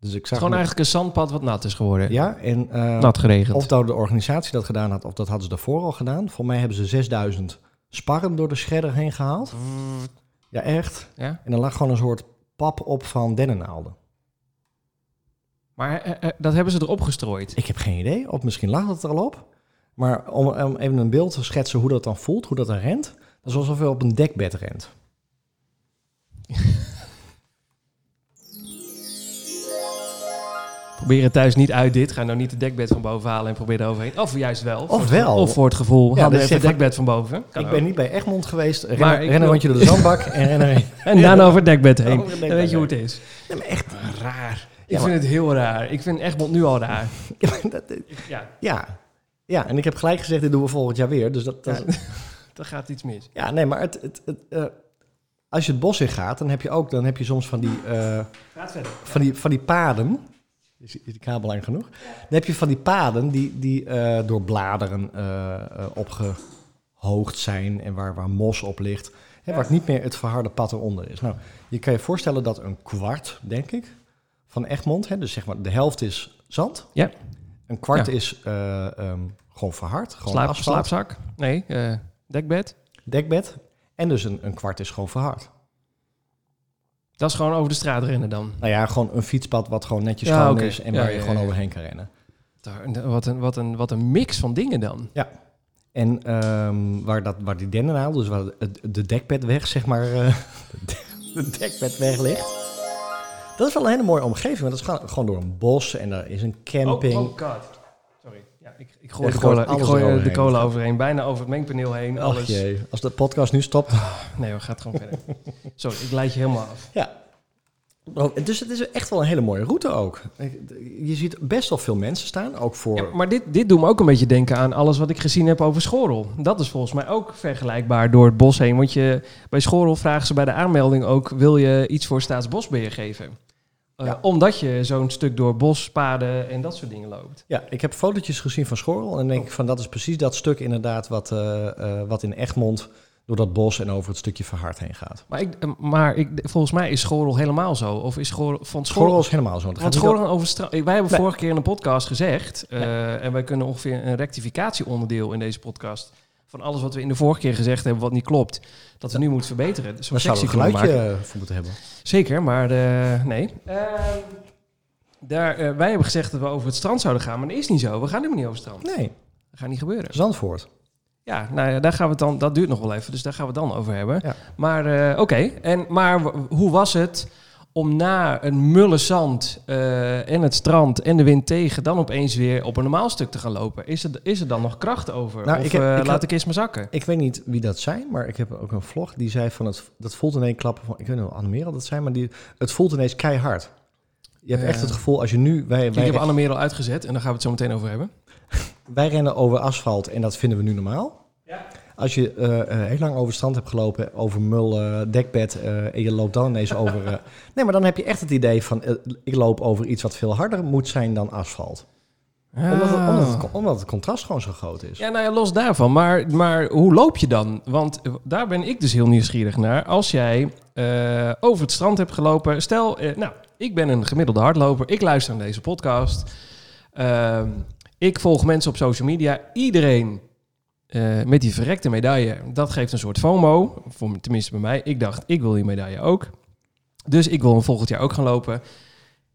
S2: dus ik zag
S1: Gewoon
S2: me-
S1: eigenlijk een zandpad wat nat is geworden.
S2: ja, en eh,
S1: Nat geregend.
S2: of nou de organisatie dat gedaan had, of dat hadden ze daarvoor al gedaan. Voor mij hebben ze 6000 sparren door de shredder heen gehaald. Ja, echt.
S1: Ja.
S2: En er lag gewoon een soort pap op van dennennaalden.
S1: Maar eh, eh, dat hebben ze erop gestrooid.
S2: Ik heb geen idee, of misschien lag dat er al op. Maar om, om even een beeld te schetsen hoe dat dan voelt, hoe dat dan rent. Dat is alsof je op een dekbed rent.
S1: Probeer het thuis niet uit dit. Ga nou niet het dekbed van boven halen en probeer er overheen. Of juist wel. Voor het-
S2: wel.
S1: Of voor het gevoel.
S2: Ja,
S1: haal er
S2: dus
S1: even het
S2: zeg-
S1: dekbed van boven. Kan
S2: ik
S1: ook.
S2: ben niet bij Egmond geweest. Rennen,
S1: Maar ik
S2: rennen
S1: wil-
S2: rondje door de
S1: [LAUGHS]
S2: zandbak en rennen heen.
S1: En daarna over het dekbed heen.
S2: Over
S1: Dan
S2: het dekbed
S1: weet je hoe het is.
S2: Nee, maar echt raar.
S1: Ik
S2: Ja,
S1: vind het heel raar. Ik vind Egmond nu al raar.
S2: maar- ja, dat- eh,
S1: Ja,
S2: ja. ja, en ik heb gelijk gezegd, dit doen we volgend jaar weer. Dus dat, dat,
S1: Ja. er gaat iets mis.
S2: Ja, nee, maar het, het, het, eh, als je het bos in gaat, dan heb je ook dan heb je soms van die, eh,
S1: Gaat verder.
S2: van die, van die paden. Is, is de kabel lang genoeg? Dan heb je van die paden die, die eh, door bladeren eh, eh, opgehoogd zijn en waar, waar mos op ligt. Hè, Waar niet meer het verharde pad eronder is. Nou, je kan je voorstellen dat een kwart, denk ik, van Egmond, hè, dus zeg maar de helft is zand.
S1: Ja.
S2: Een kwart
S1: Ja.
S2: is eh, ehm, gewoon verhard, gewoon
S1: Slaap,
S2: asfalt,
S1: slaapzak? Nee, eh, dekbed.
S2: dekbed. En dus een, een kwart is gewoon verhard.
S1: Dat is gewoon over de straat rennen dan.
S2: Nou ja, gewoon een fietspad wat gewoon netjes
S1: Ja,
S2: schoon
S1: oké.
S2: is en
S1: Ja,
S2: waar
S1: ja,
S2: je
S1: ja,
S2: gewoon
S1: ja.
S2: overheen kan rennen.
S1: Daar- Wat een, wat, een, wat een mix van dingen dan.
S2: En ehm, waar, dat, waar die dennennaal, dus waar het- de dekbedweg, zeg maar, eh, [LAUGHS] de dekbedweg ligt. Dat is wel een hele mooie omgeving, want dat is gewoon, gewoon door een bos en er is een camping.
S1: Oh, oh god. Sorry. Ja, ik, ik gooi,
S2: Ja,
S1: de
S2: gooit
S1: cola, ik
S2: alles
S1: gooi eh, de
S2: eroverheen.
S1: cola overheen. Bijna over het mengpaneel heen.
S2: Ach
S1: oh, Alles.
S2: jee, als de podcast nu stopt.
S1: Nee, we gaan gewoon
S2: [LAUGHS]
S1: verder. Sorry, ik leid je helemaal af.
S2: Ja. Oh, Dus het is echt wel een hele mooie route ook. Ik- Je ziet best wel veel mensen staan, ook voor...
S1: Ja, maar dit, dit doet me ook een beetje denken aan alles wat ik gezien heb over Schorrel. Dat is volgens mij ook vergelijkbaar door het bos heen. Want je, bij Schorrel vragen ze bij de aanmelding ook... wil je iets voor Staatsbosbeheer geven? Eh,
S2: Ja.
S1: Omdat je zo'n stuk door bospaden en dat soort dingen loopt.
S2: Ja, ik heb fotootjes gezien van Schorrel. En dan
S1: Oh.
S2: denk ik van dat is precies dat stuk inderdaad wat, eh, eh, wat in Egmond door dat bos en over het stukje verhard heen gaat.
S1: Maar, ik, eh, maar ik, volgens mij is Schorrel helemaal zo. Of is Schorrel... Van Schorrel
S2: Schorrel is helemaal zo. Het
S1: Want
S2: gaat niet
S1: Goran over stra- Wij hebben
S2: Nee.
S1: vorige keer in een podcast gezegd. eh, En wij kunnen ongeveer een rectificatieonderdeel in deze podcast. van alles wat we in de vorige keer gezegd hebben. wat niet klopt. dat we nu moeten verbeteren. Dus
S2: om- Daar
S1: zo'n
S2: zou een
S1: sectie kunnen
S2: geluidje
S1: maken.
S2: eh, voor moeten hebben.
S1: Zeker, maar eh, nee. Ehm, daar, eh, wij hebben gezegd dat we over het strand zouden gaan. maar dat is niet zo. We gaan helemaal niet over het strand.
S2: Nee,
S1: Dat gaat niet gebeuren.
S2: Zandvoort.
S1: Ja, nou ja, daar gaan we het dan. Dat duurt nog wel even, dus daar gaan we het dan over hebben.
S2: Ja.
S1: Maar eh, oké, en maar w- hoe was het om na een mulle zand eh, en het strand en de wind tegen... dan opeens weer op een normaal stuk te gaan lopen. Is er, is er dan nog kracht over?
S2: Nou,
S1: of
S2: ik heb-
S1: eh,
S2: ik had-
S1: laat ik eens maar zakken?
S2: Ik weet niet wie dat zijn, maar ik heb ook een vlog die zei van het, dat voelt in één klap van, ik weet niet of Annemera dat zijn, maar die, het voelt ineens keihard. Je hebt
S1: Ja.
S2: echt het gevoel als je nu, wij,
S1: Ik
S2: wij,
S1: heb Anne al uitgezet en daar gaan we het zo meteen over hebben.
S2: wij rennen over asfalt en dat vinden we nu normaal. Als je eh, eh, heel lang over het strand hebt gelopen, over mullen, dekbed eh, en je loopt dan ineens over... eh, [LAUGHS] nee, maar dan heb je echt het idee van eh, ik loop over iets wat veel harder moet zijn dan asfalt. Omdat, het, omdat,
S1: Ah.
S2: het, omdat het contrast gewoon zo groot is.
S1: Ja, nou ja, los daarvan. Maar, maar hoe loop je dan? Want eh, daar ben ik dus heel nieuwsgierig naar. Als jij eh, over het strand hebt gelopen. Stel, eh, nou, ik ben een gemiddelde hardloper. Ik luister naar deze podcast. Ehm, ik volg mensen op social media. Iedereen eh, met die verrekte medaille. Dat geeft een soort FOMO. Voor, tenminste bij mij. Ik dacht, ik wil die medaille ook. Dus ik wil hem volgend jaar ook gaan lopen.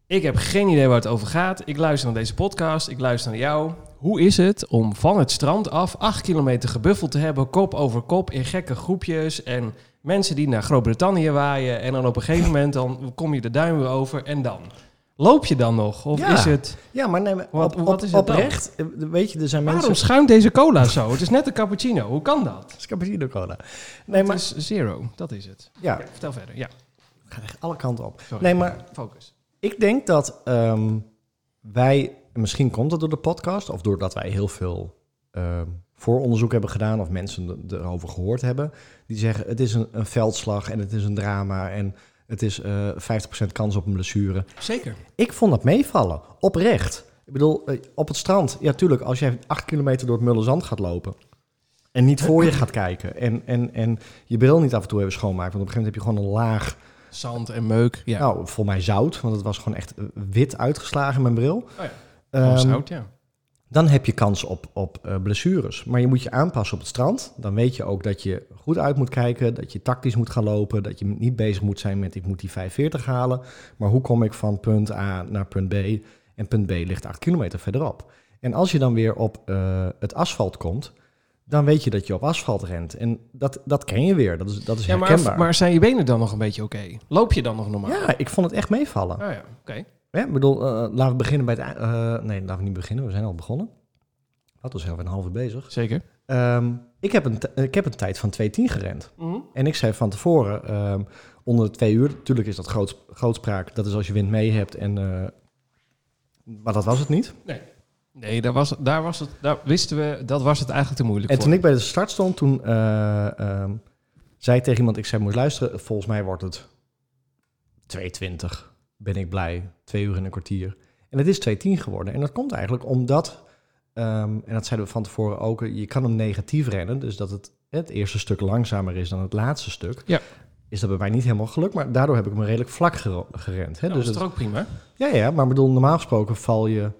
S1: Ik heb geen idee waar het over gaat. Ik luister naar deze podcast. Ik luister naar jou. Hoe is het om van het strand af acht kilometer gebuffeld te hebben, kop over kop in gekke groepjes en mensen die naar Groot-Brittannië waaien en dan op een gegeven moment dan kom je de duim weer over en dan loop je dan nog of
S2: Ja.
S1: is het?
S2: Ja, maar nee, maar
S1: Wat-
S2: op,
S1: wat
S2: op-
S1: is het dan?
S2: oprecht, eh, weet je, er zijn
S1: Waarom
S2: mensen...
S1: schuimt deze cola zo? Het is net een cappuccino. Hoe kan dat?
S2: Het is cappuccino cola. Nee,
S1: Het
S2: maar
S1: is zero. Dat is het.
S2: ja,
S1: Ja,
S2: het
S1: vertel verder. Ja.
S2: gaat echt alle kanten op.
S1: Sorry.
S2: Nee, maar
S1: focus.
S2: ik denk dat ehm, wij, misschien komt dat door de podcast of doordat wij heel veel ehm, vooronderzoek hebben gedaan of mensen er- erover gehoord hebben, die zeggen het is een, een veldslag en het is een drama en het is eh 50% kans op een blessure.
S1: Zeker.
S2: Ik vond dat meevallen, oprecht. Ik bedoel, eh, op het strand, ja tuurlijk, als jij acht kilometer door het mullenzand gaat lopen... en niet voor je gaat kijken en, en, en je bril niet af en toe even schoonmaakt... want op een gegeven moment heb je gewoon een laag,
S1: Zand en meuk. Ja.
S2: nou, voor mij zout... want het was gewoon echt eh, wit uitgeslagen in mijn bril...
S1: Oh ja.
S2: Ehm,
S1: zout, ja.
S2: dan heb je kans op, op eh, blessures. Maar je moet je aanpassen op het strand. Dan weet je ook dat je goed uit moet kijken, dat je tactisch moet gaan lopen, dat je niet bezig moet zijn met ik moet die 45 halen, maar hoe kom ik van punt A naar punt B? En punt B ligt 8 kilometer verderop. En als je dan weer op eh, het asfalt komt, dan weet je dat je op asfalt rent. En dat, dat ken je weer, dat is, dat is
S1: ja
S2: herkenbaar.
S1: maar, maar zijn je benen dan nog een beetje oké? Loop je dan nog normaal?
S2: Ja, ik vond het echt meevallen.
S1: Ah ja, oké.
S2: Ja, ik bedoel, eh, laten we beginnen bij het... ei- eh, nee, laten we niet beginnen, we zijn al begonnen. Dat was heel een halve bezig.
S1: Zeker.
S2: Ehm, ik, heb een t- ik heb een tijd van 2.10 gerend.
S1: Mhm.
S2: En ik zei van tevoren, ehm, onder de twee uur, natuurlijk is dat groot, grootspraak. Dat is als je wind mee hebt. En, eh, maar dat was het niet.
S1: Nee, daar, was, daar, was het, daar wisten we, dat was het eigenlijk te moeilijk
S2: En
S1: voor.
S2: toen ik bij de start stond, toen eh, ehm, zei ik tegen iemand, ik zei, moet je luisteren, volgens mij wordt het 2.20. Ben ik blij, twee uur en een kwartier. En het is 2.10 geworden. En dat komt eigenlijk omdat, ehm, en dat zeiden we van tevoren ook, je kan hem negatief rennen. Dus dat het, het eerste stuk langzamer is dan het laatste stuk.
S1: Ja.
S2: Is dat bij mij niet helemaal gelukt, maar daardoor heb ik hem redelijk vlak gero- gerend. Hè?
S1: Ja,
S2: dus
S1: dat is
S2: het-
S1: toch ook prima?
S2: ja, ja, maar ik bedoel, normaal gesproken val je...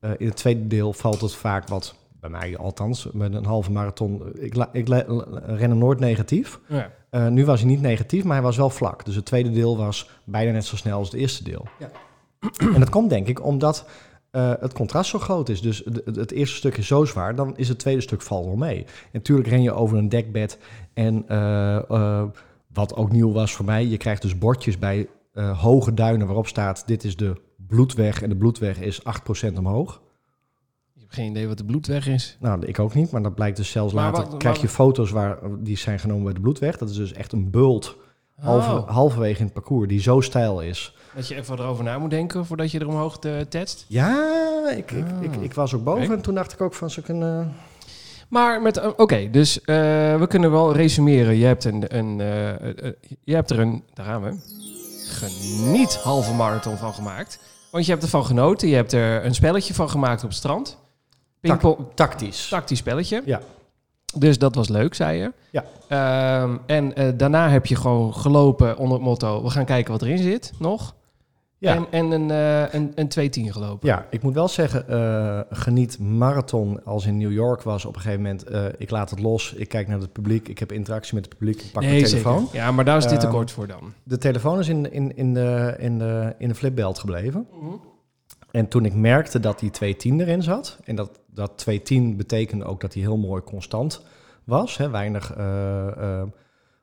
S2: eh, in het tweede deel valt het vaak wat... Bij mij althans, met een halve marathon... eh, Ik, la- ik la- ren hem nooit negatief.
S1: Ja.
S2: Eh, nu was hij niet negatief, maar hij was wel vlak. Dus het tweede deel was bijna net zo snel als het eerste deel.
S1: Ja.
S2: [CLEARS THROAT] En dat komt denk ik omdat eh, het contrast zo groot is. Dus het- het, het eerste stuk is zo zwaar, dan is het tweede stuk valt wel mee. En natuurlijk ren je over een dekbed. En eh, eh, wat ook nieuw was voor mij, je krijgt dus bordjes bij eh, hoge duinen waarop staat... dit is de bloedweg en de bloedweg is 8% omhoog.
S1: Je hebt geen idee wat de bloedweg is.
S2: Nou, ik ook niet, maar dat blijkt dus zelfs
S1: Maar
S2: later.
S1: wat-
S2: krijg
S1: wat-
S2: je foto's waar, die zijn genomen bij de bloedweg. Dat is dus echt een bult halve-
S1: Oh,
S2: halverwege in het parcours die zo steil is.
S1: dat je even erover na moet denken voordat je er omhoog eh, tetst.
S2: Ja, ik, ik,
S1: Ah.
S2: ik, ik was ook boven
S1: Oké.
S2: en toen dacht ik ook van eh, ze kunnen...
S1: Maar met, eh, oké, dus eh, we kunnen wel resumeren. Je hebt, een, een, eh, eh, eh, je hebt er een, daar gaan we, geniet halve marathon van gemaakt. Want je hebt ervan genoten. Je hebt er een spelletje van gemaakt op het strand. Pingpong,
S2: Tactisch.
S1: tactisch spelletje.
S2: Ja.
S1: Dus dat was leuk, zei je.
S2: Ja.
S1: Ehm, en eh, daarna heb je gewoon gelopen onder het motto... we gaan kijken wat erin zit, nog.
S2: Ja.
S1: En, en een, eh een, een 2-10 gelopen.
S2: ja, ik moet wel zeggen, eh, geniet marathon als in New York was op een gegeven moment. eh, ik laat het los, ik kijk naar het publiek, ik heb interactie met het publiek, ik pak
S1: Nee,
S2: mijn telefoon.
S1: zeker. Ja, maar daar is dit te
S2: Ehm,
S1: kort voor dan.
S2: De telefoon is in, in, in, de, in, de, in de flipbelt gebleven. En toen ik merkte dat die 210 erin zat, en dat, dat 210 betekende ook dat hij heel mooi constant was, hè, weinig eh, eh,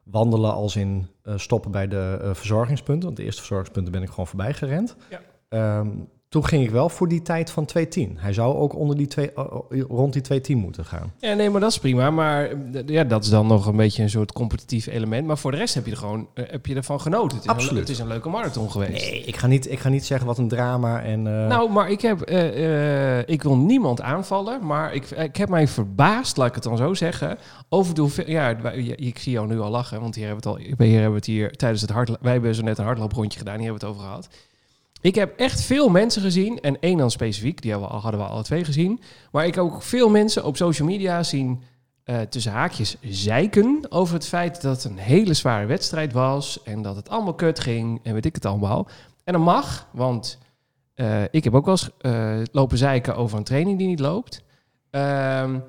S2: wandelen als in eh, eh, stoppen bij de eh, verzorgingspunten. Want de eerste verzorgingspunten ben ik gewoon voorbij gerend.
S1: Ja.
S2: Ehm, toen ging ik wel voor die tijd van 2.10. Hij zou ook onder die twee, oh, oh, rond die 2.10 moeten gaan.
S1: Ja, nee, maar dat is prima. Maar eh, d- ja, dat is dan nog een beetje een soort competitief element. Maar voor de rest heb je er gewoon eh, heb je ervan genoten. Het is Een,
S2: Absoluut.
S1: het is een leuke marathon geweest.
S2: Nee, ik ga niet, ik ga niet zeggen wat een drama en... eh,
S1: Nou, maar ik, heb, eh, eh, ik wil niemand aanvallen, maar ik, ik heb mij verbaasd, laat ik het dan zo zeggen, over de hoeveel... Ja, wij- je- ik zie jou nu al lachen, want hier hebben we het, al, hier hebben we het hier tijdens het hardloop... Wij hebben zo net een hardlooprondje gedaan, hier hebben we het over gehad. Ik heb echt veel mensen gezien, en één dan specifiek, die hebben we al, hadden we alle twee gezien. Maar ik heb ook veel mensen op social media zien, eh, tussen haakjes, zeiken over het feit dat het een hele zware wedstrijd was. En dat het allemaal kut ging, en weet ik het allemaal. En dat mag, want eh, ik heb ook wel eens eh, lopen zeiken over een training die niet loopt. Ehm,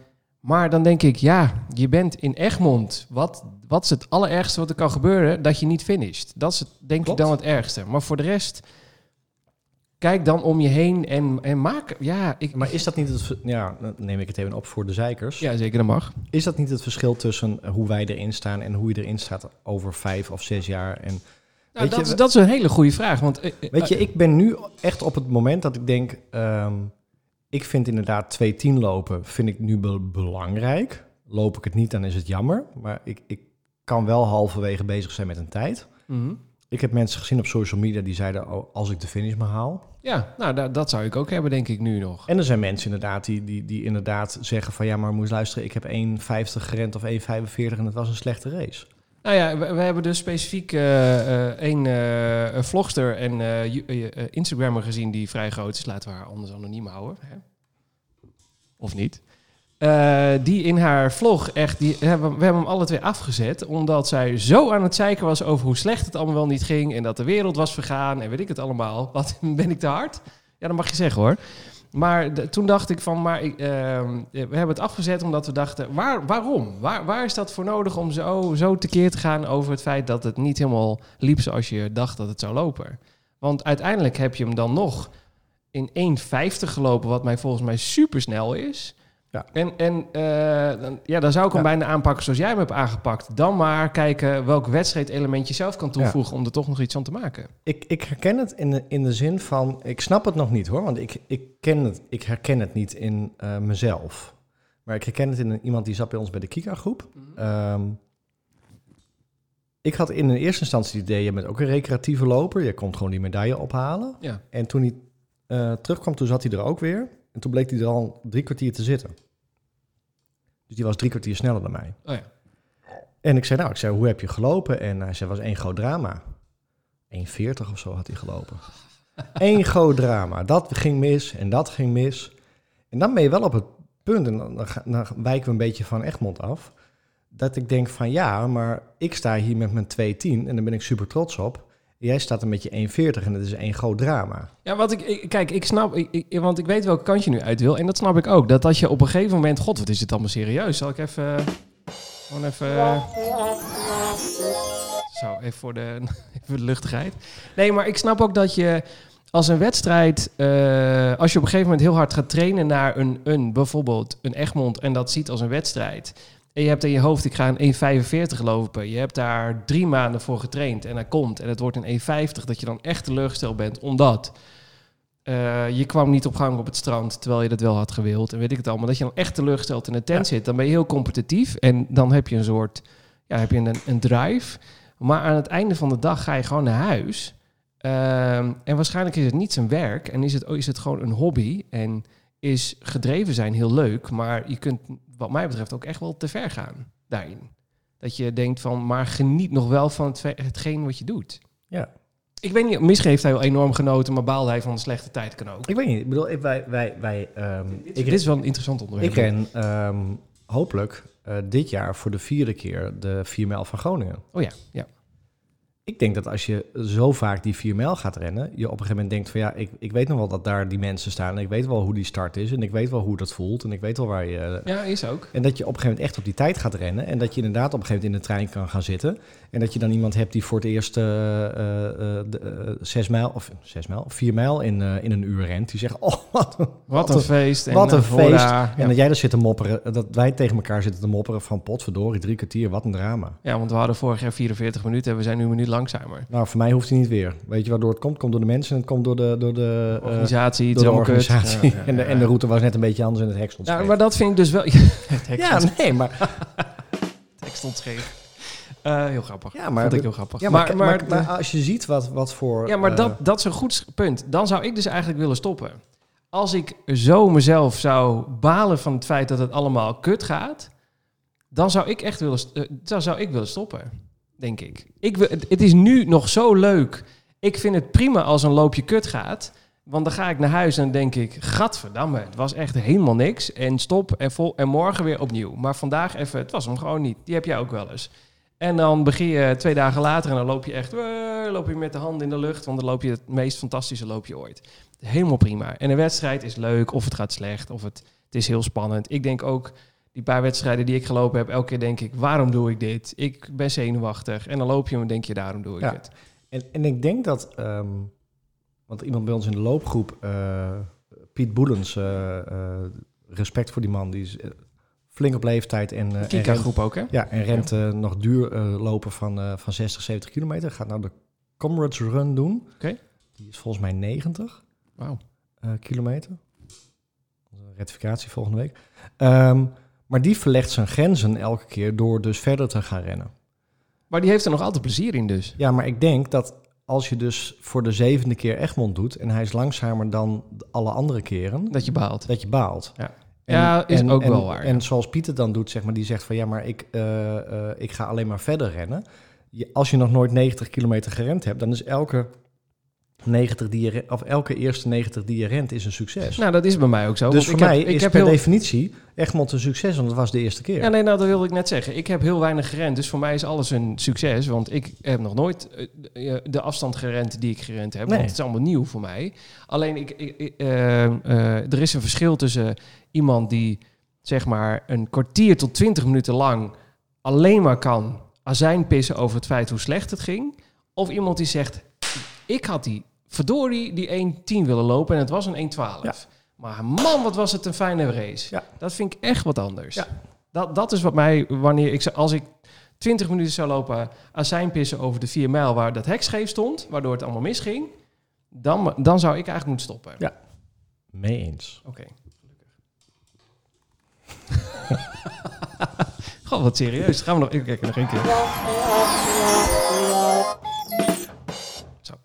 S1: maar dan denk ik, ja, je bent in Egmond. Wat, wat is het allerergste wat er kan gebeuren? Dat je niet finisht. Dat is het, denk
S2: Klopt.
S1: ik dan het ergste. Maar voor de rest, kijk dan om je heen en, en maak... Ja, ik,
S2: Maar is dat niet het... ver- Ja, dan neem ik het even op voor de zeikers.
S1: ja, zeker, dat mag.
S2: Is dat niet het verschil tussen hoe wij erin staan en hoe je erin staat over vijf of zes jaar? En
S1: Nou,
S2: Weet
S1: dat,
S2: je,
S1: is-
S2: we-
S1: dat is een hele goede vraag. Want, eh, eh,
S2: Weet je, ik ben nu echt op het moment dat ik denk... ehm, ik vind inderdaad 2-10 lopen vind ik nu be- belangrijk. Loop ik het niet, dan is het jammer. Maar ik, ik kan wel halverwege bezig zijn met een tijd.
S1: mhm.
S2: Ik heb mensen gezien op social media die zeiden... Oh, als ik de finish maar haal.
S1: Ja, nou, da- dat zou ik ook hebben, denk ik, nu nog.
S2: En er zijn mensen inderdaad die, die, die inderdaad zeggen van... ja, maar moest luisteren, ik heb 1,50 gerend of 1,45 en het was een slechte race.
S1: Nou ja, we, we hebben dus specifiek eh, eh, één eh, een vlogster en eh, ju- eh, eh, Instagrammer gezien die vrij groot is. Laten we haar anders anoniem houden. Hè? Of niet. Eh, die in haar vlog echt, die hebben, we hebben hem alle twee afgezet. Omdat zij zo aan het zeiken was over hoe slecht het allemaal wel niet ging. En dat de wereld was vergaan en weet ik het allemaal. Wat [LAUGHS] ben ik te hard? Ja, dat mag je zeggen hoor. Maar de- toen dacht ik van, maar ik, ehm, we hebben het afgezet omdat we dachten, waar, waarom? Waar, waar is dat voor nodig om zo, zo tekeer te gaan over het feit dat het niet helemaal liep zoals je dacht dat het zou lopen? Want uiteindelijk heb je hem dan nog in 1,50 gelopen, wat mij volgens mij supersnel is.
S2: Ja.
S1: En, en eh, dan, ja, dan zou ik hem
S2: Ja.
S1: bijna aanpakken zoals jij hem hebt aangepakt. Dan maar kijken welk wedstrijdelement je zelf kan toevoegen om er toch nog iets aan te maken.
S2: Ik, ik herken het in de, in de zin van, ik snap het nog niet hoor, want ik, ik, ken het, ik herken het niet in eh, mezelf. Maar ik herken het in een- iemand die zat bij ons bij de Kika-groep. Ehm, ik had in de eerste instantie het idee, je bent ook een recreatieve loper, je komt gewoon die medaille ophalen.
S1: Ja.
S2: En toen hij eh, terugkwam, toen zat hij er ook weer. En toen bleek hij er al drie kwartier te zitten. Dus die was drie kwartier sneller dan mij.
S1: Oh ja.
S2: En ik zei, nou, ik zei, hoe heb je gelopen? En hij zei, was één groot drama. 1,40 of zo had hij
S1: [LAUGHS]
S2: gelopen. Eén groot drama. Dat ging mis en dat ging mis. En dan ben je wel op het punt, en dan, dan, ga- dan wijken we een beetje van Egmond af, dat ik denk van ja, maar ik sta hier met mijn 2,10 en daar ben ik super trots op. Jij staat er met je 1,40 en dat is één groot drama.
S1: Ja, want ik, ik- kijk, ik snap, ik, ik- want ik weet welke kant je nu uit wil. En dat snap ik ook. Dat als je op een gegeven moment, god, wat is dit allemaal serieus? Zal ik even, eh, gewoon even, eh, zo, even voor de, [LAUGHS] even voor de luchtigheid. Nee, maar ik snap ook dat je als een wedstrijd, eh, als je op een gegeven moment heel hard gaat trainen naar een, een bijvoorbeeld een Egmond en dat ziet als een wedstrijd. En je hebt in je hoofd, ik ga een 1,45 lopen. Je hebt daar drie maanden voor getraind en hij komt en het wordt een 1,50. Dat je dan echt teleurgesteld bent, omdat eh, je kwam niet op gang op het strand, terwijl je dat wel had gewild. En weet ik het allemaal. Dat je dan echt teleurgesteld in de tent zit. Dan ben je heel competitief. En dan heb je een soort, ja, heb je een, een drive. Maar aan het einde van de dag ga je gewoon naar huis. Ehm, en waarschijnlijk is het niet zijn werk. En is het, is het gewoon een hobby. En is gedreven zijn heel leuk. Maar je kunt, wat mij betreft, ook echt wel te ver gaan daarin. Dat je denkt van, maar geniet nog wel van het, ve- hetgeen wat je doet.
S2: Ja.
S1: Ik weet niet, misschien heeft hij wel enorm genoten, maar baalde hij van een slechte tijd kan ook.
S2: Ik weet niet, ik bedoel, ik- wij, wij, wij, ehm, ik,
S1: Dit is wel een interessant onderwerp.
S2: ik ren ehm, hopelijk eh, dit jaar voor de vierde keer de 4 mijl van Groningen.
S1: Oh ja, ja.
S2: Ik denk dat als je zo vaak die 4 mijl gaat rennen, je op een gegeven moment denkt van ja, ik, ik weet nog wel dat daar die mensen staan en ik weet wel hoe die start is en ik weet wel hoe dat voelt en ik weet wel waar je...
S1: Ja, is ook.
S2: En dat je op een gegeven moment echt op die tijd gaat rennen en dat je inderdaad op een gegeven moment in de trein kan gaan zitten en dat je dan iemand hebt die voor het eerst eh, eh, eh, de, eh, zes mijl of zes mijl, vier mijl in, eh, in een uur rent. Die zegt, [LAUGHS] oh wat een
S1: Wat
S2: een-
S1: een feest. en,
S2: wat een
S1: eh,
S2: feest.
S1: hoera.
S2: En
S1: Ja.
S2: dat jij daar zit te mopperen, dat wij tegen elkaar zitten te mopperen van potverdorie, drie kwartier, wat een drama.
S1: Ja, want we hadden vorig jaar 44 minuten en we zijn nu een minuut langzamer.
S2: Nou, voor mij hoeft hij niet weer. Weet je waardoor het komt? Het komt door de mensen en het komt door de, door de, eh,
S1: Organisatie,
S2: door
S1: iets
S2: de
S1: helemaal kut.
S2: organisatie.
S1: Ja, ja,
S2: En, de,
S1: ja.
S2: en de route was net een beetje anders en het hek stond
S1: Ja,
S2: scheef.
S1: maar dat vind ik dus wel... [LAUGHS] het hek
S2: ja,
S1: stond- [LAUGHS]
S2: nee, maar,
S1: het hek stond scheef. Eh, heel grappig.
S2: ja, maar,
S1: Vond ik heel grappig.
S2: ja, maar, maar, maar als je ziet wat, wat voor...
S1: Ja, maar
S2: eh,
S1: dat, dat is een goed s- punt. Dan zou ik dus eigenlijk willen stoppen. Als ik zo mezelf zou balen van het feit dat het allemaal kut gaat, dan zou ik echt willen, st- eh, dan zou ik willen stoppen, denk ik. ik wil, het, het is nu nog zo leuk. Ik vind het prima als een loopje kut gaat. Want dan ga ik naar huis en dan denk ik, gadverdamme, het was echt helemaal niks. En stop en, vol, en morgen weer opnieuw. Maar vandaag even, het was hem gewoon niet. Die heb jij ook wel eens. En dan begin je twee dagen later en dan loop je echt eh, loop je met de handen in de lucht. Want dan loop je het meest fantastische loopje ooit. Helemaal prima. En een wedstrijd is leuk, of het gaat slecht, of het, het is heel spannend. Ik denk ook, die paar wedstrijden die ik gelopen heb, elke keer denk ik, waarom doe ik dit? Ik ben zenuwachtig. En dan loop je en dan denk je, daarom doe ik
S2: Ja.
S1: het.
S2: En, en ik denk dat, ehm, want iemand bij ons in de loopgroep, eh, Piet Boelens, eh, eh, respect voor die man, die is eh, flink op leeftijd en, eh, en
S1: Kika
S2: rent-
S1: groep ook, hè?
S2: Ja, en rent eh, nog duur eh, lopen van, eh, van 60, 70 kilometer. Gaat nou de Comrades Run doen.
S1: Oké.
S2: Die is volgens mij 90
S1: Wauw.
S2: eh, kilometer. Onze Ratificatie volgende week. Ehm, maar die verlegt zijn grenzen elke keer door dus verder te gaan rennen.
S1: Maar die heeft er nog altijd plezier in dus.
S2: Ja, maar ik denk dat als je dus voor de zevende keer Egmond doet... en hij is langzamer dan alle andere keren,
S1: Dat je baalt.
S2: dat je baalt.
S1: Ja. Ja, is ook
S2: en,
S1: wel waar, ja.
S2: En zoals Pieter dan doet, zeg maar, die zegt van ja, maar ik, eh, eh, ik ga alleen maar verder rennen. Je, als je nog nooit 90 kilometer gerend hebt, dan is elke 90 die je, re- of elke eerste 90 die je rent is een succes.
S1: Nou, dat is bij mij ook zo.
S2: dus
S1: want
S2: voor
S1: ik
S2: mij
S1: heb, ik
S2: is
S1: heb
S2: per
S1: heel
S2: definitie Egmond een succes, want het was de eerste keer.
S1: Ja, nee, nou, dat wilde ik net zeggen. Ik heb heel weinig gerend, dus voor mij is alles een succes. Want ik heb nog nooit eh, eh, de afstand gerend die ik gerend heb.
S2: Nee.
S1: Want het is allemaal nieuw voor mij. Alleen, ik, ik, ik, eh, eh, er is een verschil tussen iemand die zeg maar een kwartier tot twintig minuten lang alleen maar kan azijn pissen over het feit hoe slecht het ging. Of iemand die zegt, ik had die verdorie die 1.10 willen lopen en het was een 1.12.
S2: Ja.
S1: Maar man, wat was het een fijne race.
S2: Ja.
S1: Dat vind ik echt wat anders.
S2: Ja.
S1: Dat, dat is wat mij, wanneer ik, zou- als ik 20 minuten zou lopen azijn pissen over de 4 mijl waar dat hek scheef stond, waardoor het allemaal misging, dan, dan zou ik eigenlijk moeten stoppen.
S2: Ja. Mee eens.
S1: Oké. [LAUGHS] Goh, wat serieus. Gaan we nog even kijken, nog één keer. Zo. [LAUGHS]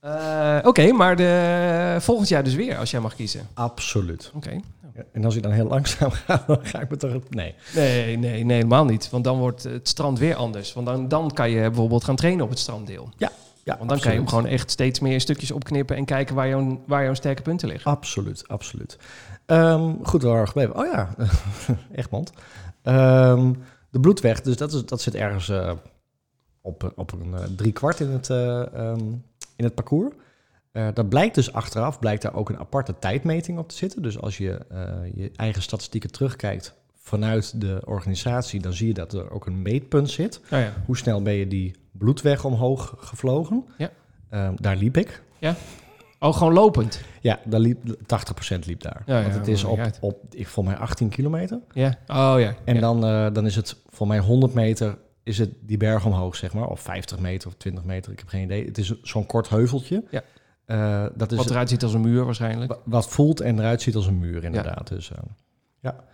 S1: Eh, Oké, maar de, volgend jaar dus weer, als jij mag kiezen.
S2: Absoluut.
S1: Oké.
S2: Ja, En als je dan heel langzaam [LAUGHS] gaat, dan ga ik me toch... Nee.
S1: Nee, nee, nee, helemaal niet. Want dan wordt het strand weer anders. Want dan, dan kan je bijvoorbeeld gaan trainen op het stranddeel.
S2: Ja,
S1: Want dan kan je hem gewoon echt steeds meer stukjes opknippen en kijken waar jouw, waar jouw sterke punten liggen.
S2: Absoluut, absoluut. Ehm, goed, waar waren we gebleven? Oh ja, [LAUGHS] Egmond. Ehm de bloedweg, dus dat, is, dat zit ergens eh, op, op een eh, driekwart in het, eh, ehm, in het parcours. Eh dat blijkt dus achteraf, blijkt daar ook een aparte tijdmeting op te zitten. Dus als je eh, je eigen statistieken terugkijkt vanuit de organisatie, dan zie je dat er ook een meetpunt zit.
S1: Nou ja.
S2: Hoe snel ben je die bloedweg omhoog gevlogen?
S1: Ja.
S2: Ehm, daar liep ik.
S1: Oh, gewoon lopend.
S2: Ja, daar liep, 80% liep daar.
S1: Ja,
S2: Want
S1: ja,
S2: het is
S1: maakt
S2: op,
S1: niet
S2: op ik volgens mij 18 kilometer.
S1: Ja. Oh ja.
S2: En
S1: Ja.
S2: dan, eh, dan is het volgens mij 100 meter is het die berg omhoog, zeg maar. Of 50 meter of 20 meter, ik heb geen idee. Het is zo'n kort heuveltje.
S1: Ja.
S2: Eh, dat is
S1: Wat eruit ziet als een muur waarschijnlijk.
S2: wa- wat voelt en eruit ziet als een muur, inderdaad. Dus, eh, ja.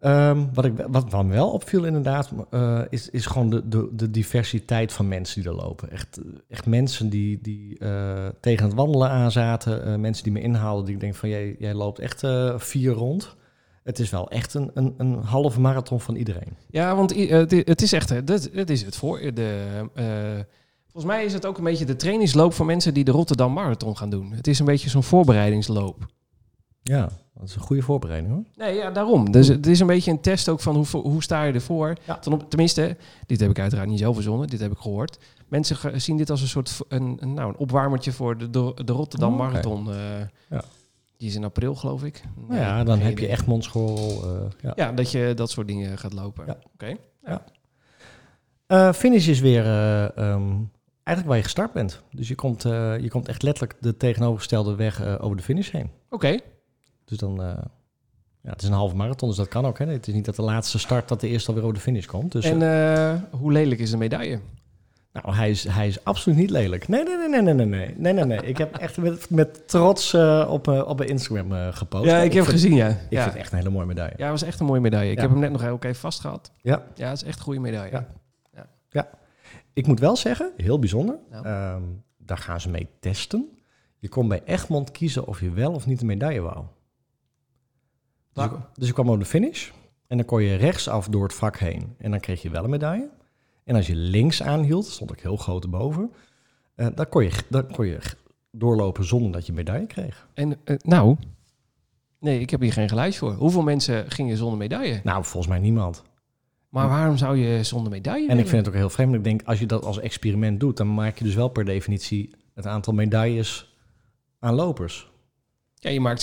S2: Ehm, wat, ik, wat, wat me wel opviel, inderdaad, eh, is, is gewoon de, de, de diversiteit van mensen die er lopen. Echt, eh, echt mensen die, die eh, tegen het wandelen aan zaten, eh, mensen die me inhaalden, die ik denk van jij, jij loopt echt eh, vier rond. Het is wel echt een, een, een halve marathon van iedereen.
S1: Ja, want i- eh, het i- het is echt, eh, dat, dat is het voor. De, eh, volgens mij is het ook een beetje de trainingsloop voor mensen die de Rotterdam Marathon gaan doen. Het is een beetje zo'n voorbereidingsloop.
S2: Ja, dat is een goede voorbereiding hoor.
S1: Nee, ja, daarom. Dus het is een beetje een test ook van hoe, vo- hoe sta je ervoor.
S2: Ja.
S1: Ten op- tenminste, dit heb ik uiteraard niet zelf verzonnen, dit heb ik gehoord. Mensen ge- zien dit als een soort v- een, een, nou, een opwarmertje voor de, de, de Rotterdam
S2: Oh, oké.
S1: Marathon. eh,
S2: Ja.
S1: Die is in april, geloof ik.
S2: Nou
S1: Nee,
S2: ja, dan
S1: geen
S2: heb je
S1: idee.
S2: echt mondschool. eh, ja.
S1: Ja, dat je dat soort dingen gaat lopen.
S2: Ja.
S1: Oké.
S2: Eh, finish is weer eh, ehm, eigenlijk waar je gestart bent. Dus je komt, eh, je komt echt letterlijk de tegenovergestelde weg eh, over de finish heen.
S1: Oké.
S2: Dus dan, eh, ja, het is een halve marathon, dus dat kan ook. Hè? Het is niet dat de laatste start dat de eerste alweer over de finish komt. Dus,
S1: En eh, hoe lelijk is de medaille?
S2: eh, nou, hij is, hij is absoluut niet lelijk. Nee, nee, nee, nee, nee, nee, nee, nee, nee, nee. Ik heb echt met, met trots eh, op, eh, op mijn Instagram eh, gepost.
S1: Ja, ik heb
S2: vind,
S1: gezien, ja.
S2: Ik
S1: ja.
S2: vind het echt een hele mooie medaille.
S1: Ja, was echt een mooie medaille. Ik
S2: Ja.
S1: heb hem net nog heel even vastgehad.
S2: Ja.
S1: Ja, het is echt een goede medaille.
S2: Ja. Ik moet wel zeggen, heel bijzonder.
S1: Nou.
S2: ehm, daar gaan ze mee testen. Je kon bij Egmond kiezen of je wel of niet een medaille wou. Dus,
S1: Nou.
S2: ik, dus ik kwam op de finish. En dan kon je rechtsaf door het vak heen. En dan kreeg je wel een medaille. En als je links aanhield, stond ik heel groot erboven. eh, dan, kon je, dan kon je doorlopen zonder dat je een medaille kreeg.
S1: En eh, nou, nee, ik heb hier geen geluid voor. Hoeveel mensen gingen zonder medaille?
S2: Nou, volgens mij niemand.
S1: Maar waarom zou je zonder medaille
S2: En ik
S1: willen?
S2: vind het ook heel vreemd. Ik denk, als je dat als experiment doet, dan maak je dus wel per definitie het aantal medailles aan lopers.
S1: Ja, je maakt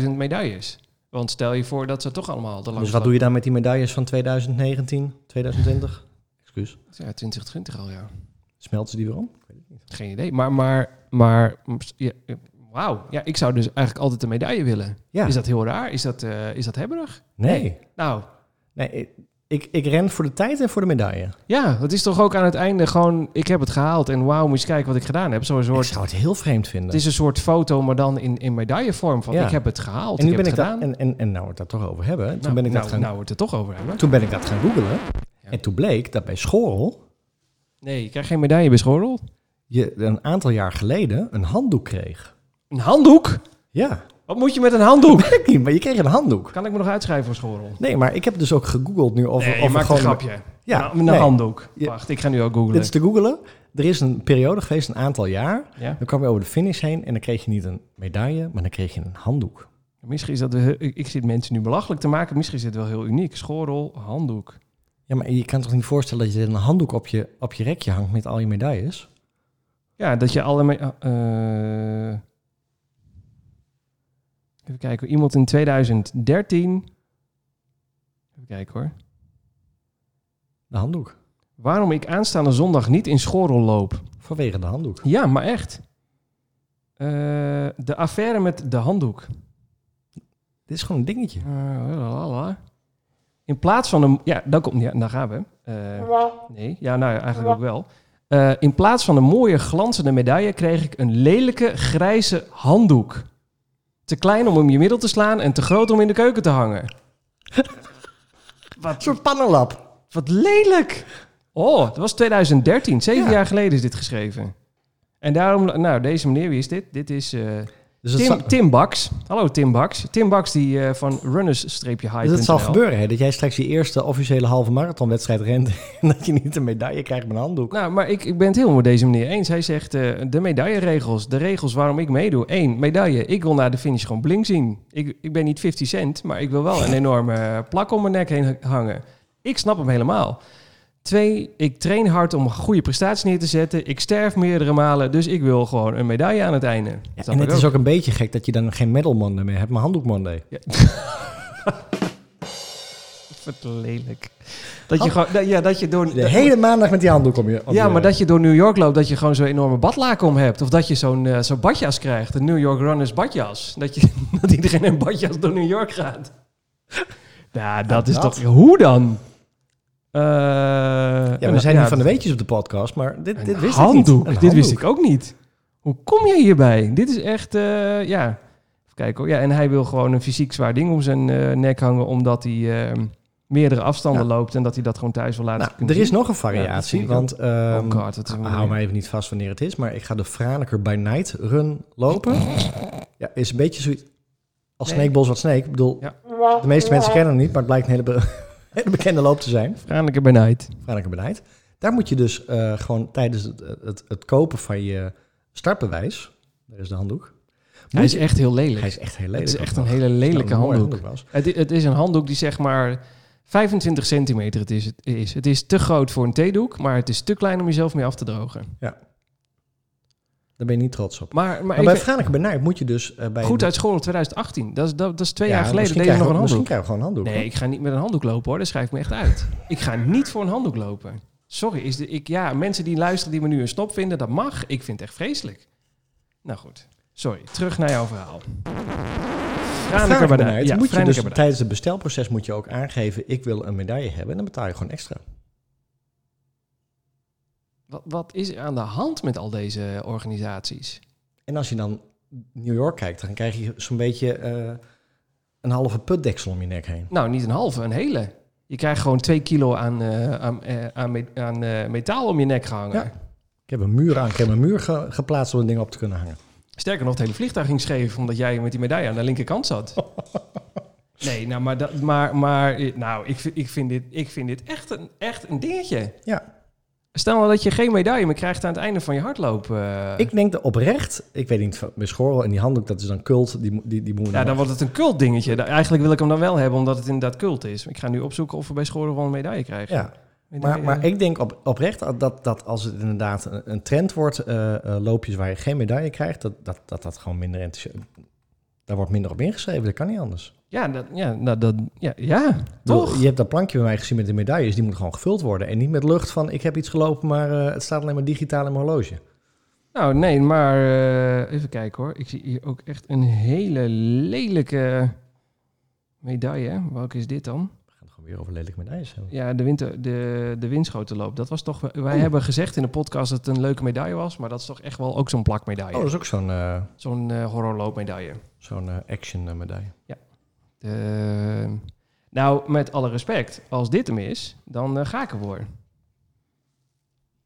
S1: 17.000 medailles. Want stel je voor dat ze toch allemaal de
S2: Dus
S1: langste
S2: wat doe je dan met die medailles van 2019, 2020? Excuus.
S1: Ja, 2020 al, ja.
S2: Smelten ze die weer om?
S1: Geen idee. Maar, maar, maar, ja, ja, wauw. Ja, ik zou dus eigenlijk altijd een medaille willen.
S2: Ja.
S1: Is dat heel raar? Is dat, eh, is dat hebberig?
S2: Nee.
S1: Nou,
S2: nee ik- ik, ik ren voor de tijd en voor de medaille.
S1: ja, dat is toch ook aan het einde gewoon... Ik heb het gehaald en wauw, moet je eens kijken wat ik gedaan heb. Zo'n
S2: Ik
S1: soort...
S2: zou het heel vreemd
S1: Het
S2: vinden.
S1: is een soort foto, maar dan in, in medaillevorm. Van
S2: Ja.
S1: ik heb het gehaald,
S2: en nu
S1: ik heb
S2: ben ik
S1: het gedaan.
S2: dat, en, en, en nou we het daar toch over hebben. Toen,
S1: nou,
S2: ben ik
S1: nou,
S2: dat gaan,
S1: nou we het er toch over hebben.
S2: toen ben ik dat gaan googlen.
S1: Ja.
S2: En toen bleek dat bij Schorl
S1: Nee, je krijgt geen medaille bij schorrel.
S2: je een aantal jaar geleden een handdoek kreeg.
S1: Een handdoek?
S2: Ja,
S1: Wat moet je met een handdoek?
S2: weet ik niet, maar je kreeg een handdoek.
S1: [LAUGHS] Kan ik me nog uitschrijven voor schorrel?
S2: Nee, maar ik heb dus ook gegoogeld nu of,
S1: nee,
S2: of
S1: je
S2: er
S1: maakt een
S2: gewoon
S1: grapje.
S2: Ja,
S1: Nou, met een
S2: nee.
S1: handdoek.
S2: Je-
S1: Wacht, ik ga nu ook googlen.
S2: Dit is te googelen. Er is een periode geweest, een aantal jaar,
S1: Ja?
S2: Dan kwam je over de finish heen en dan kreeg je niet een medaille, maar dan kreeg je een handdoek.
S1: Misschien is dat... de- Ik ik zit mensen nu belachelijk te maken. Misschien is dit wel heel uniek. Schorrel, handdoek.
S2: Ja, maar je kan toch niet voorstellen dat je een handdoek op je, op je rekje hangt met al je medailles?
S1: Ja, dat je alle... me- eh, even kijken. Iemand in 2013... Even kijken hoor.
S2: De handdoek.
S1: Waarom ik aanstaande zondag niet in Schorrel loop?
S2: Vanwege de handdoek.
S1: Ja, maar echt. Eh, de affaire met de handdoek.
S2: Dit is gewoon een dingetje.
S1: Eh, lalala. In plaats van een... Ja, dan komt, ja daar gaan we. Eh, nee, ja, nou ja, eigenlijk ook wel. Eh, in plaats van een mooie glanzende medaille kreeg ik een lelijke grijze handdoek. Te klein om om je middel te slaan en te groot om in de keuken te hangen.
S2: Een soort pannenlap.
S1: Wat lelijk! Oh, dat was 2013. Zeven
S2: Ja.
S1: jaar geleden is dit geschreven. En daarom... Nou, deze meneer, wie is dit? Dit is... eh,
S2: Dus dat
S1: Tim,
S2: zal,
S1: Tim Baks. Hallo Tim Baks. Tim Baks die eh, van runners-hype.
S2: dus dat zal gebeuren, hè? dat jij straks je eerste officiële halve marathonwedstrijd rent [LAUGHS] en dat je niet een medaille krijgt met een handdoek.
S1: Nou, maar ik, ik ben het helemaal met deze meneer eens. Hij zegt eh, de medailleregels, de regels waarom ik meedoe. Eén, medaille. Ik wil naar de finish gewoon blink zien. Ik, ik ben niet 50 cent, maar ik wil wel
S2: [LAUGHS]
S1: een enorme eh, plak om mijn nek heen hangen. Ik snap hem helemaal. Twee, ik train hard om een goede prestatie neer te zetten. Ik sterf meerdere malen, dus ik wil gewoon een medaille aan het einde.
S2: Ja,
S1: Snap
S2: en
S1: ik
S2: het is ook een beetje gek dat je dan geen medal Monday meer hebt, maar handdoek Monday.
S1: Wat lelijk. Dat je, gewoon, dat, ja, dat je door...
S2: Oh. De hele maandag met die handdoek om je. om
S1: Ja,
S2: je-
S1: maar dat je door New York loopt, dat je gewoon zo'n enorme badlaken om hebt. Of dat je zo'n eh, zo'n badjas krijgt, een New York Runners badjas. Dat, je, [LAUGHS] dat iedereen in badjas door New York gaat. Ja, dat is
S2: dat.
S1: toch... Hoe dan? Eh,
S2: Ja, we
S1: een-
S2: zijn
S1: ja,
S2: hier van de weetjes op de podcast, maar dit, dit
S1: een
S2: wist ik
S1: handdoek.
S2: niet. Een
S1: Dit wist
S2: handdoek.
S1: ik ook niet. Hoe kom je hierbij? Dit is echt, eh, ja... Even kijken hoor. Ja, en hij wil gewoon een fysiek zwaar ding om zijn eh, nek hangen... omdat hij eh, meerdere afstanden
S2: Ja.
S1: loopt... en dat hij dat gewoon thuis wil laten
S2: Nou,
S1: kunnen
S2: er is
S1: zien.
S2: nog een
S1: Ja, dat
S2: variatie,
S1: vind ik
S2: want ehm,
S1: Oh god, wat is er
S2: hou
S1: mooi.
S2: mij even niet vast wanneer het is, maar ik ga de Franeker by Night run lopen. Ja, is een beetje zoiets als
S1: Nee.
S2: Snake Balls wat Snake. Ik bedoel,
S1: Ja.
S2: de meeste mensen kennen hem niet, maar het blijkt een hele, be- [LAUGHS] hele bekende loop te zijn.
S1: Franeker bij Night.
S2: Franeker by Night. Daar moet je dus eh, gewoon tijdens het, het, het kopen van je startbewijs, daar is de handdoek,
S1: Hij is echt heel lelijk.
S2: Hij is echt heel
S1: het
S2: lelijk.
S1: is echt
S2: ook
S1: een
S2: nog.
S1: hele
S2: Als het nou
S1: lelijke
S2: een mooie
S1: handdoek.
S2: was.
S1: Het, i- het is een handdoek die zeg maar 25 centimeter het is, het is. Het is te groot voor een theedoek, maar het is te klein om jezelf mee af te drogen.
S2: Daar ben je niet trots op.
S1: Maar, maar
S2: Maar bij
S1: even,
S2: Franeker Bernard moet je dus eh, bij...
S1: goed uit school in 2018. Dat is, dat, dat is twee
S2: Ja,
S1: jaar geleden.
S2: misschien
S1: Deed ik nog
S2: krijgen
S1: een
S2: we- Misschien
S1: handdoek.
S2: krijgen we gewoon een handdoek.
S1: Nee, ik ga niet met een handdoek lopen hoor. Daar schrijf ik me echt uit. ik ga niet voor een handdoek lopen. Sorry, is de, ik, ja, mensen die luisteren die me nu een snop vinden, dat mag. Ik vind het echt vreselijk. Nou goed, sorry. Terug naar jouw verhaal. Franeker
S2: Franeker
S1: Banaai.
S2: Bernard,
S1: Ja,
S2: moet je
S1: Franeker
S2: dus
S1: Banaai.
S2: tijdens het bestelproces moet je ook aangeven... ik wil een medaille hebben en dan betaal je gewoon extra.
S1: Wat, wat is er aan de hand met al deze organisaties?
S2: En als je dan New York kijkt, dan krijg je zo'n beetje eh, een halve putdeksel om je nek heen.
S1: Nou, niet een halve, een hele. Je krijgt gewoon twee kilo aan, eh, aan, eh, aan, me- aan eh, metaal om je nek gehangen.
S2: Ja. Ik heb een muur aan, ik heb een muur ge- geplaatst om het ding op te kunnen hangen.
S1: Sterker nog, het hele vliegtuig ging scheef omdat jij met die medaille aan de linkerkant zat. [LAUGHS] Nee, nou, maar, dat, maar, maar eh, nou, ik, vind- ik, vind dit, ik vind dit echt een, echt een dingetje.
S2: Ja,
S1: Stel nou dat je geen medaille meer krijgt aan het einde van je hardloop. eh.
S2: ik denk dat oprecht, ik weet niet, van- bij Schorrel en die handdoek, dat is dan cult, die, mo- die, die moet
S1: ja, dan wordt het een cult dingetje. Da- Eigenlijk wil ik hem dan wel hebben, omdat het inderdaad cult is. Ik ga nu opzoeken of we bij scholen wel een medaille krijgen. eh,
S2: ja. Maar,
S1: Medaille-
S2: maar ik denk op, oprecht dat- dat, dat als het inderdaad een, een trend wordt, eh, eh, loopjes waar je geen medaille krijgt, dat dat, dat, dat gewoon minder enthousiast... Daar wordt minder op ingeschreven, dat kan niet anders.
S1: Ja, dat, ja, nou, dat, ja, ja
S2: Ik bedoel,
S1: toch?
S2: Je hebt dat plankje bij mij gezien met de medailles. Die moet gewoon gevuld worden. En niet met lucht van ik heb iets gelopen, maar eh, het staat alleen maar digitaal in mijn horloge.
S1: Nou, nee, maar eh, even kijken hoor. Ik zie hier ook echt een hele lelijke medaille. Welke is dit dan?
S2: We gaan het gewoon weer over lelijke medailles hebben.
S1: Ja, de, winter, de, de windschotenloop. Dat was toch... Wij
S2: Oh.
S1: hebben gezegd in de podcast dat het een leuke medaille was. Maar dat is toch echt wel ook zo'n plakmedaille.
S2: Oh, dat is ook zo'n eh,
S1: Zo'n eh, horrorloopmedaille.
S2: zo'n eh, action eh, medaille.
S1: Eh, nou, met alle respect. Als dit hem is, dan eh, ga ik ervoor. Het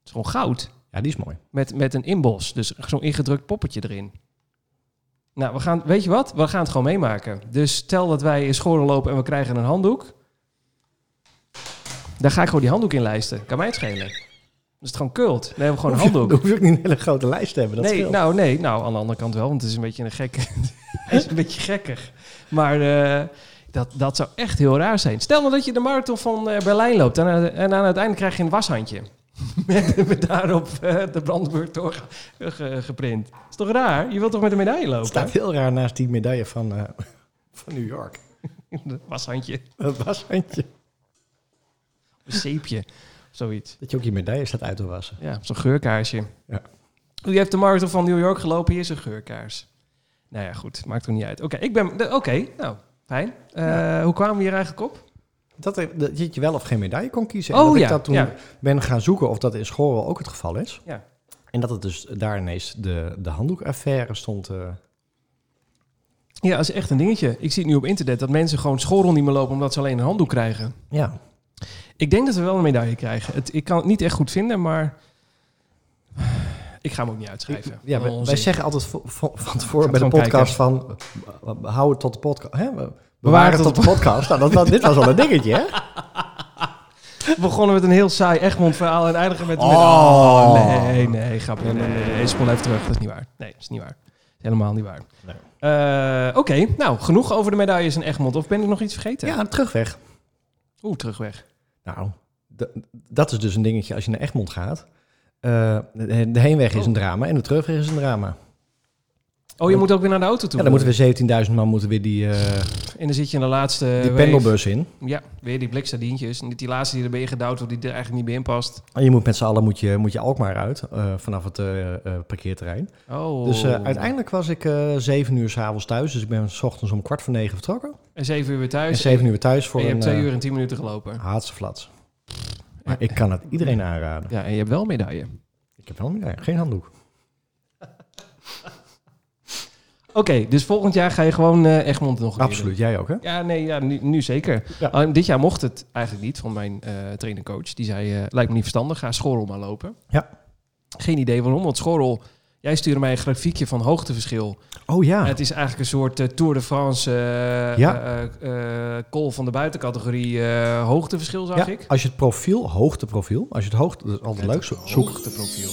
S1: is gewoon goud.
S2: Ja, die is mooi.
S1: Met, met een inbos. Dus zo'n ingedrukt poppetje erin. Nou, we gaan, weet je wat? We gaan het gewoon meemaken. Dus stel dat wij in scholen lopen en we krijgen een handdoek. Daar ga ik gewoon die handdoek in lijsten. Kan mij het schelen. Dat is het gewoon kult. Dan hebben we gewoon een
S2: Hoef je-
S1: handdoek.
S2: hoef je ook niet een hele grote lijst te hebben. Dat
S1: nee,
S2: scheelt.
S1: nou, nee, nou, aan de andere kant wel, want het is een beetje een gek. [LAUGHS] het is een beetje gekkig. Maar eh, dat, dat zou echt heel raar zijn. Stel nou dat je de marathon van eh, Berlijn loopt en, aan- en aan het einde krijg je een washandje. [LAUGHS] met, met daarop eh, de Brandenburg door geprint. Dat is toch raar? Je wilt toch met een medaille
S2: Het
S1: lopen? [LAUGHS]
S2: staat heel raar naast die medaille van, eh, [LAUGHS] van New York.
S1: washandje,
S2: Dat washandje.
S1: een zeepje, of zoiets.
S2: Dat je ook je medaille staat uit te wassen.
S1: Ja, zo'n geurkaarsje.
S2: Ja.
S1: U heeft de marathon van New York gelopen, hier is een geurkaars. Nou ja, goed, maakt toch niet uit. Oké, ik ben. de- Oké, nou, fijn. Eh, Hoe kwamen we hier eigenlijk op?
S2: Dat, er- dat je wel of geen medaille kon kiezen.
S1: Oh,
S2: en dat
S1: ja,
S2: ik dat toen
S1: ja.
S2: ben gaan zoeken of dat in school ook het geval is.
S1: Ja.
S2: En dat het dus daar ineens de, de handdoekaffaire stond. eh,
S1: Ja, dat is echt een dingetje. Ik zie het nu op internet dat mensen gewoon schoolrol niet meer lopen omdat ze alleen een handdoek krijgen.
S2: ja,
S1: Ik denk dat we wel een medaille krijgen. Het, ik kan het niet echt goed vinden, maar ik ga hem ook niet uitschrijven.
S2: Ja, wij- wij,
S1: Onzin.
S2: zeggen altijd vo- vo- van tevoren
S1: Gaat
S2: bij de
S1: gewoon
S2: podcast van... eh, Hou het tot de podcast. Hè? We
S1: Bewaar
S2: bewaren
S1: het
S2: het tot de podcast. Nou, dat, dat- dit was wel [LAUGHS] een dingetje, hè?
S1: We begonnen met een heel saai Egmond verhaal en eindigen met... met-
S2: Oh.
S1: nee, nee, grapje. Nee, nee, nee. Spoel even terug. Dat is niet waar. Nee, dat is niet waar. Dat is helemaal niet waar.
S2: Nee.
S1: Eh, Oké, nou, genoeg over de medailles en Egmond. Of ben ik nog iets vergeten?
S2: Ja, terugweg.
S1: Oeh, terugweg.
S2: Nou, d- dat is dus een dingetje als je naar Egmond gaat. Eh, de de heenweg is een drama en de terugweg is een drama.
S1: Oh, je moet ook weer naar de auto toe.
S2: Ja, dan moeten we 17.000 man moeten weer die, eh,
S1: En dan zit je in de laatste...
S2: die
S1: wave.
S2: pendelbus in.
S1: Ja, weer die bliksaardientjes. En dit die laatste die erbij gedouwd wordt, die er eigenlijk niet meer in past.
S2: En je moet met z'n allen moet je, moet je Alkmaar uit eh, vanaf het eh, eh, parkeerterrein.
S1: Oh.
S2: Dus eh, uiteindelijk was ik eh 7 uur s'avonds thuis. Dus ik ben s ochtends om kwart voor negen vertrokken.
S1: En zeven uur weer
S2: En
S1: thuis.
S2: 7 uur thuis voor
S1: en je
S2: een,
S1: hebt twee
S2: eh,
S1: uur en tien minuten gelopen.
S2: Haatse flats. Maar ik kan het iedereen aanraden.
S1: Ja, en je hebt wel een medaille.
S2: Ik heb wel een idee. Geen handdoek.
S1: Oké, dus volgend jaar ga je gewoon eh, Egmond nog een keer doen.
S2: Absoluut. Jij ook, hè?
S1: Ja, nee, ja, nu, nu zeker.
S2: Ja.
S1: Alleen dit jaar mocht het eigenlijk niet van mijn eh trainer-coach. Die zei, eh, lijkt me niet verstandig, ga Schorrel maar lopen.
S2: Ja.
S1: Geen idee waarom, want Schorrel... Jij stuurde mij een grafiekje van hoogteverschil.
S2: Oh ja.
S1: Het is eigenlijk een soort eh, Tour de France eh
S2: Ja.
S1: eh, eh, call van de buitencategorie eh, hoogteverschil, zag
S2: ja,
S1: ik.
S2: Als je het profiel, hoogteprofiel, als je het hoogte, dat is altijd leuk, zo- zoek.
S1: Hoogteprofiel.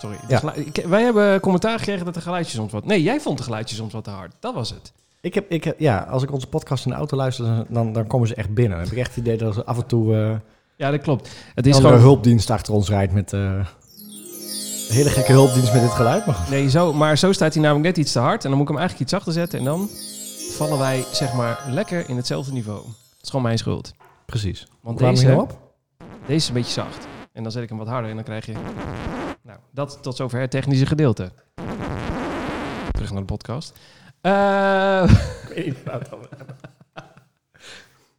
S1: Sorry. de
S2: Ja.
S1: gelu- ik- wij hebben commentaar gekregen dat de geluidjes soms wat... Nee, jij vond de geluidjes soms wat te hard. Dat was het.
S2: Ik heb, ik heb, ja, als ik onze podcast in de auto luister, dan- dan, dan komen ze echt binnen. Dan heb ik echt het idee dat ze af en toe eh
S1: Ja, dat klopt. Het
S2: een
S1: is
S2: andere
S1: gewoon...
S2: hulpdienst achter ons rijdt met... eh, een hele gekke hulpdienst met dit geluid. Maar goed.
S1: Nee, zo, maar zo staat hij namelijk net iets te hard. En dan moet ik hem eigenlijk iets zachter zetten. En dan vallen wij, zeg maar, lekker in hetzelfde niveau. Het is gewoon mijn schuld.
S2: Precies.
S1: Want
S2: Laat
S1: deze,
S2: hem hier op.
S1: deze is een beetje zacht. En dan zet ik hem wat harder en dan krijg je... Nou, dat tot zover het technische gedeelte. Terug naar de podcast. Eh... [LAUGHS]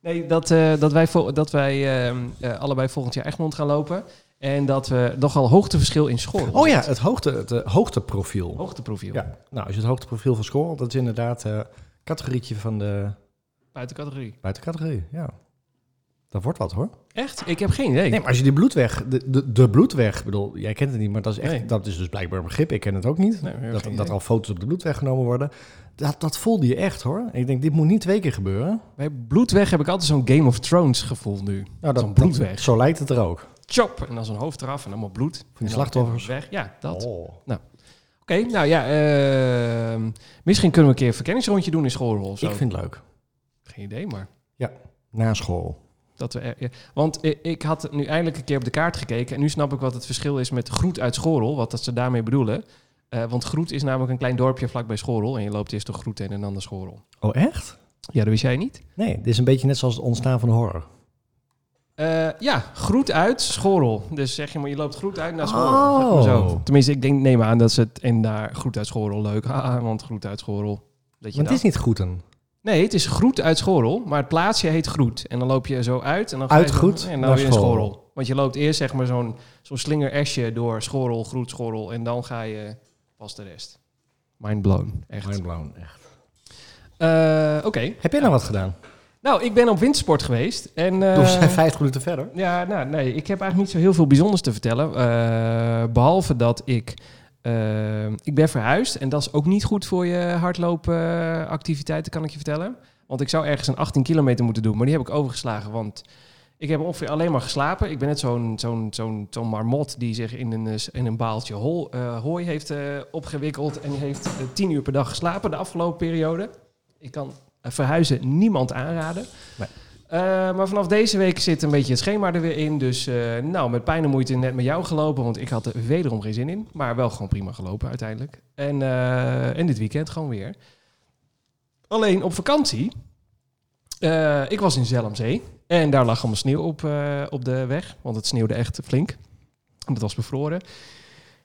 S1: Nee, dat, eh, dat wij, vol- dat wij ehm, eh, allebei volgend jaar Egmond gaan lopen. En dat we nogal hoogteverschil in school
S2: Oh ja, het, hoogte, het eh, hoogteprofiel.
S1: Hoogteprofiel.
S2: Ja, nou, als je het hoogteprofiel van school, dat is inderdaad eh categorietje van de
S1: Buiten categorie.
S2: buitencategorie. Ja, dat wordt wat hoor.
S1: Echt? Ik heb geen idee.
S2: Nee, maar als je die bloedweg, de, de, de bloedweg, ik bedoel, jij kent het niet, maar dat is, echt,
S1: Nee.
S2: dat is dus blijkbaar een begrip. Ik ken het ook niet.
S1: Nee, ik heb
S2: dat,
S1: geen
S2: dat er
S1: idee.
S2: al foto's op de bloedweg genomen worden. Dat, dat voelde je echt hoor. En ik denk, dit moet niet twee keer gebeuren.
S1: Bij bloedweg heb ik altijd zo'n Game of Thrones gevoel nu.
S2: Nou,
S1: Zo'n bloedweg.
S2: zo lijkt het er ook.
S1: Chop! En dan zo'n hoofd eraf en allemaal bloed. En dan
S2: slachtoffers.
S1: Weg. Ja, dat. Oké,
S2: Oh.
S1: nou ja. ehm, misschien kunnen we een keer een verkenningsrondje doen in school of zo.
S2: Ik vind het leuk.
S1: Geen idee, maar...
S2: Na school.
S1: Dat we er- ja. Want i- ik had nu eindelijk een keer op de kaart gekeken. En nu snap ik wat het verschil is met Groet uit Schorel. Wat dat ze daarmee bedoelen. Eh, want Groet is namelijk een klein dorpje vlakbij Schorel. En je loopt eerst door Groet heen en dan naar Schorel.
S2: Oh, echt?
S1: Ja, dat wist jij niet?
S2: Nee, dit is een beetje net zoals het ontstaan van horror.
S1: Eh, ja, Groet uit Schorel. Dus zeg je maar, je loopt Groet uit naar Schorel.
S2: Oh.
S1: Zeg maar Zo. Tenminste, ik denk, neem aan dat ze het en daar Groet uit Schorel leuk. Haha, want Groet uit Schorel. Dat je
S2: Want het
S1: dat.
S2: is niet groeten.
S1: Nee, het is Groet uit Schorel. Maar het plaatsje heet Groet. En dan loop je zo uit. En dan ga
S2: Uit
S1: je zo-
S2: Groet
S1: En dan
S2: naar
S1: weer in Schorel.
S2: Schorel.
S1: Want je loopt eerst zeg maar zo'n zo'n slingeresje door Schorel, Groet, Schorel. En dan ga je pas de rest. Mind blown, echt.
S2: Mindblown, echt.
S1: Eh, Oké.
S2: Heb jij nou wat gedaan?
S1: Nou, ik ben op wintersport geweest. En, eh,
S2: we zijn vijf minuten verder.
S1: Ja, nou nee, ik heb eigenlijk niet zo heel veel bijzonders te vertellen. Eh, behalve dat ik, eh, ik ben verhuisd en dat is ook niet goed voor je hardloopactiviteiten, kan ik je vertellen. Want ik zou ergens een 18 kilometer moeten doen, maar die heb ik overgeslagen, want ik heb ongeveer alleen maar geslapen. Ik ben net zo'n zo'n zo'n zo'n marmot die zich in een, eh, s- in een baaltje hol, eh, hooi heeft eh, opgewikkeld en die heeft eh, 10 uur per dag geslapen de afgelopen periode. Ik kan eh, verhuizen niemand aanraden. Eh, maar vanaf deze week zit een beetje het schema er weer in. Dus eh, nou, met pijn en moeite net met jou gelopen. Want ik had er wederom geen zin in. Maar wel gewoon prima gelopen uiteindelijk. En, eh, en dit weekend gewoon weer. Alleen op vakantie. eh, ik was in Zelmzee. En daar lag allemaal sneeuw op, eh, op de weg. Want het sneeuwde echt flink. En dat was bevroren.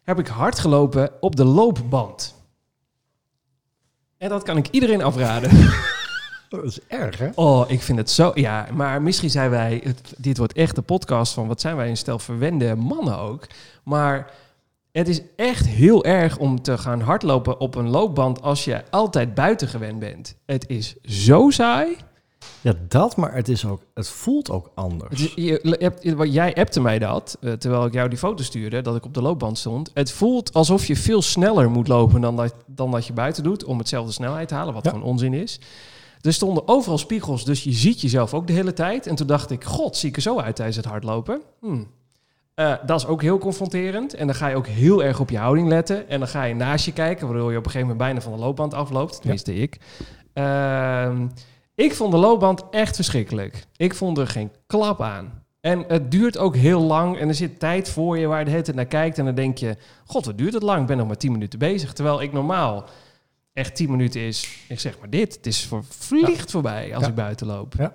S1: Heb ik hard gelopen op de loopband. En dat kan ik iedereen afraden.
S2: Dat is erg, hè?
S1: Oh, ik vind het zo. Ja, maar misschien zijn wij. Het, dit wordt echt de podcast van wat zijn wij een stel verwende mannen ook. Maar het is echt heel erg om te gaan hardlopen op een loopband als je altijd buiten gewend bent. Het is zo saai.
S2: Ja, dat, maar het, is ook, het voelt ook anders.
S1: Het is, je, je hebt- je- wat- jij appte mij dat, eh, terwijl ik jou die foto stuurde, dat ik op de loopband stond. Het voelt alsof je veel sneller moet lopen dan dat, dan dat je buiten doet, om hetzelfde snelheid te halen, wat
S2: Ja.
S1: gewoon onzin is. Er stonden overal spiegels, dus je ziet jezelf ook de hele tijd. En toen dacht ik, god, zie ik er zo uit tijdens het hardlopen. Hmm. Eh, dat is ook heel confronterend. En dan ga je ook heel erg op je houding letten. En dan ga je naast je kijken, waardoor je op een gegeven moment bijna van de loopband afloopt. Tenminste, ik. Ehm, ik vond de loopband echt verschrikkelijk. Ik vond er geen klap aan. En het duurt ook heel lang. En er zit tijd voor je waar je de hele tijd naar kijkt. En dan denk je, god, wat duurt het lang? Ik ben nog maar 10 minuten bezig. Terwijl ik normaal echt 10 minuten is, ik zeg maar dit. Het is voor, vliegt voorbij als
S2: Ja.
S1: ik buiten loop.
S2: Eh,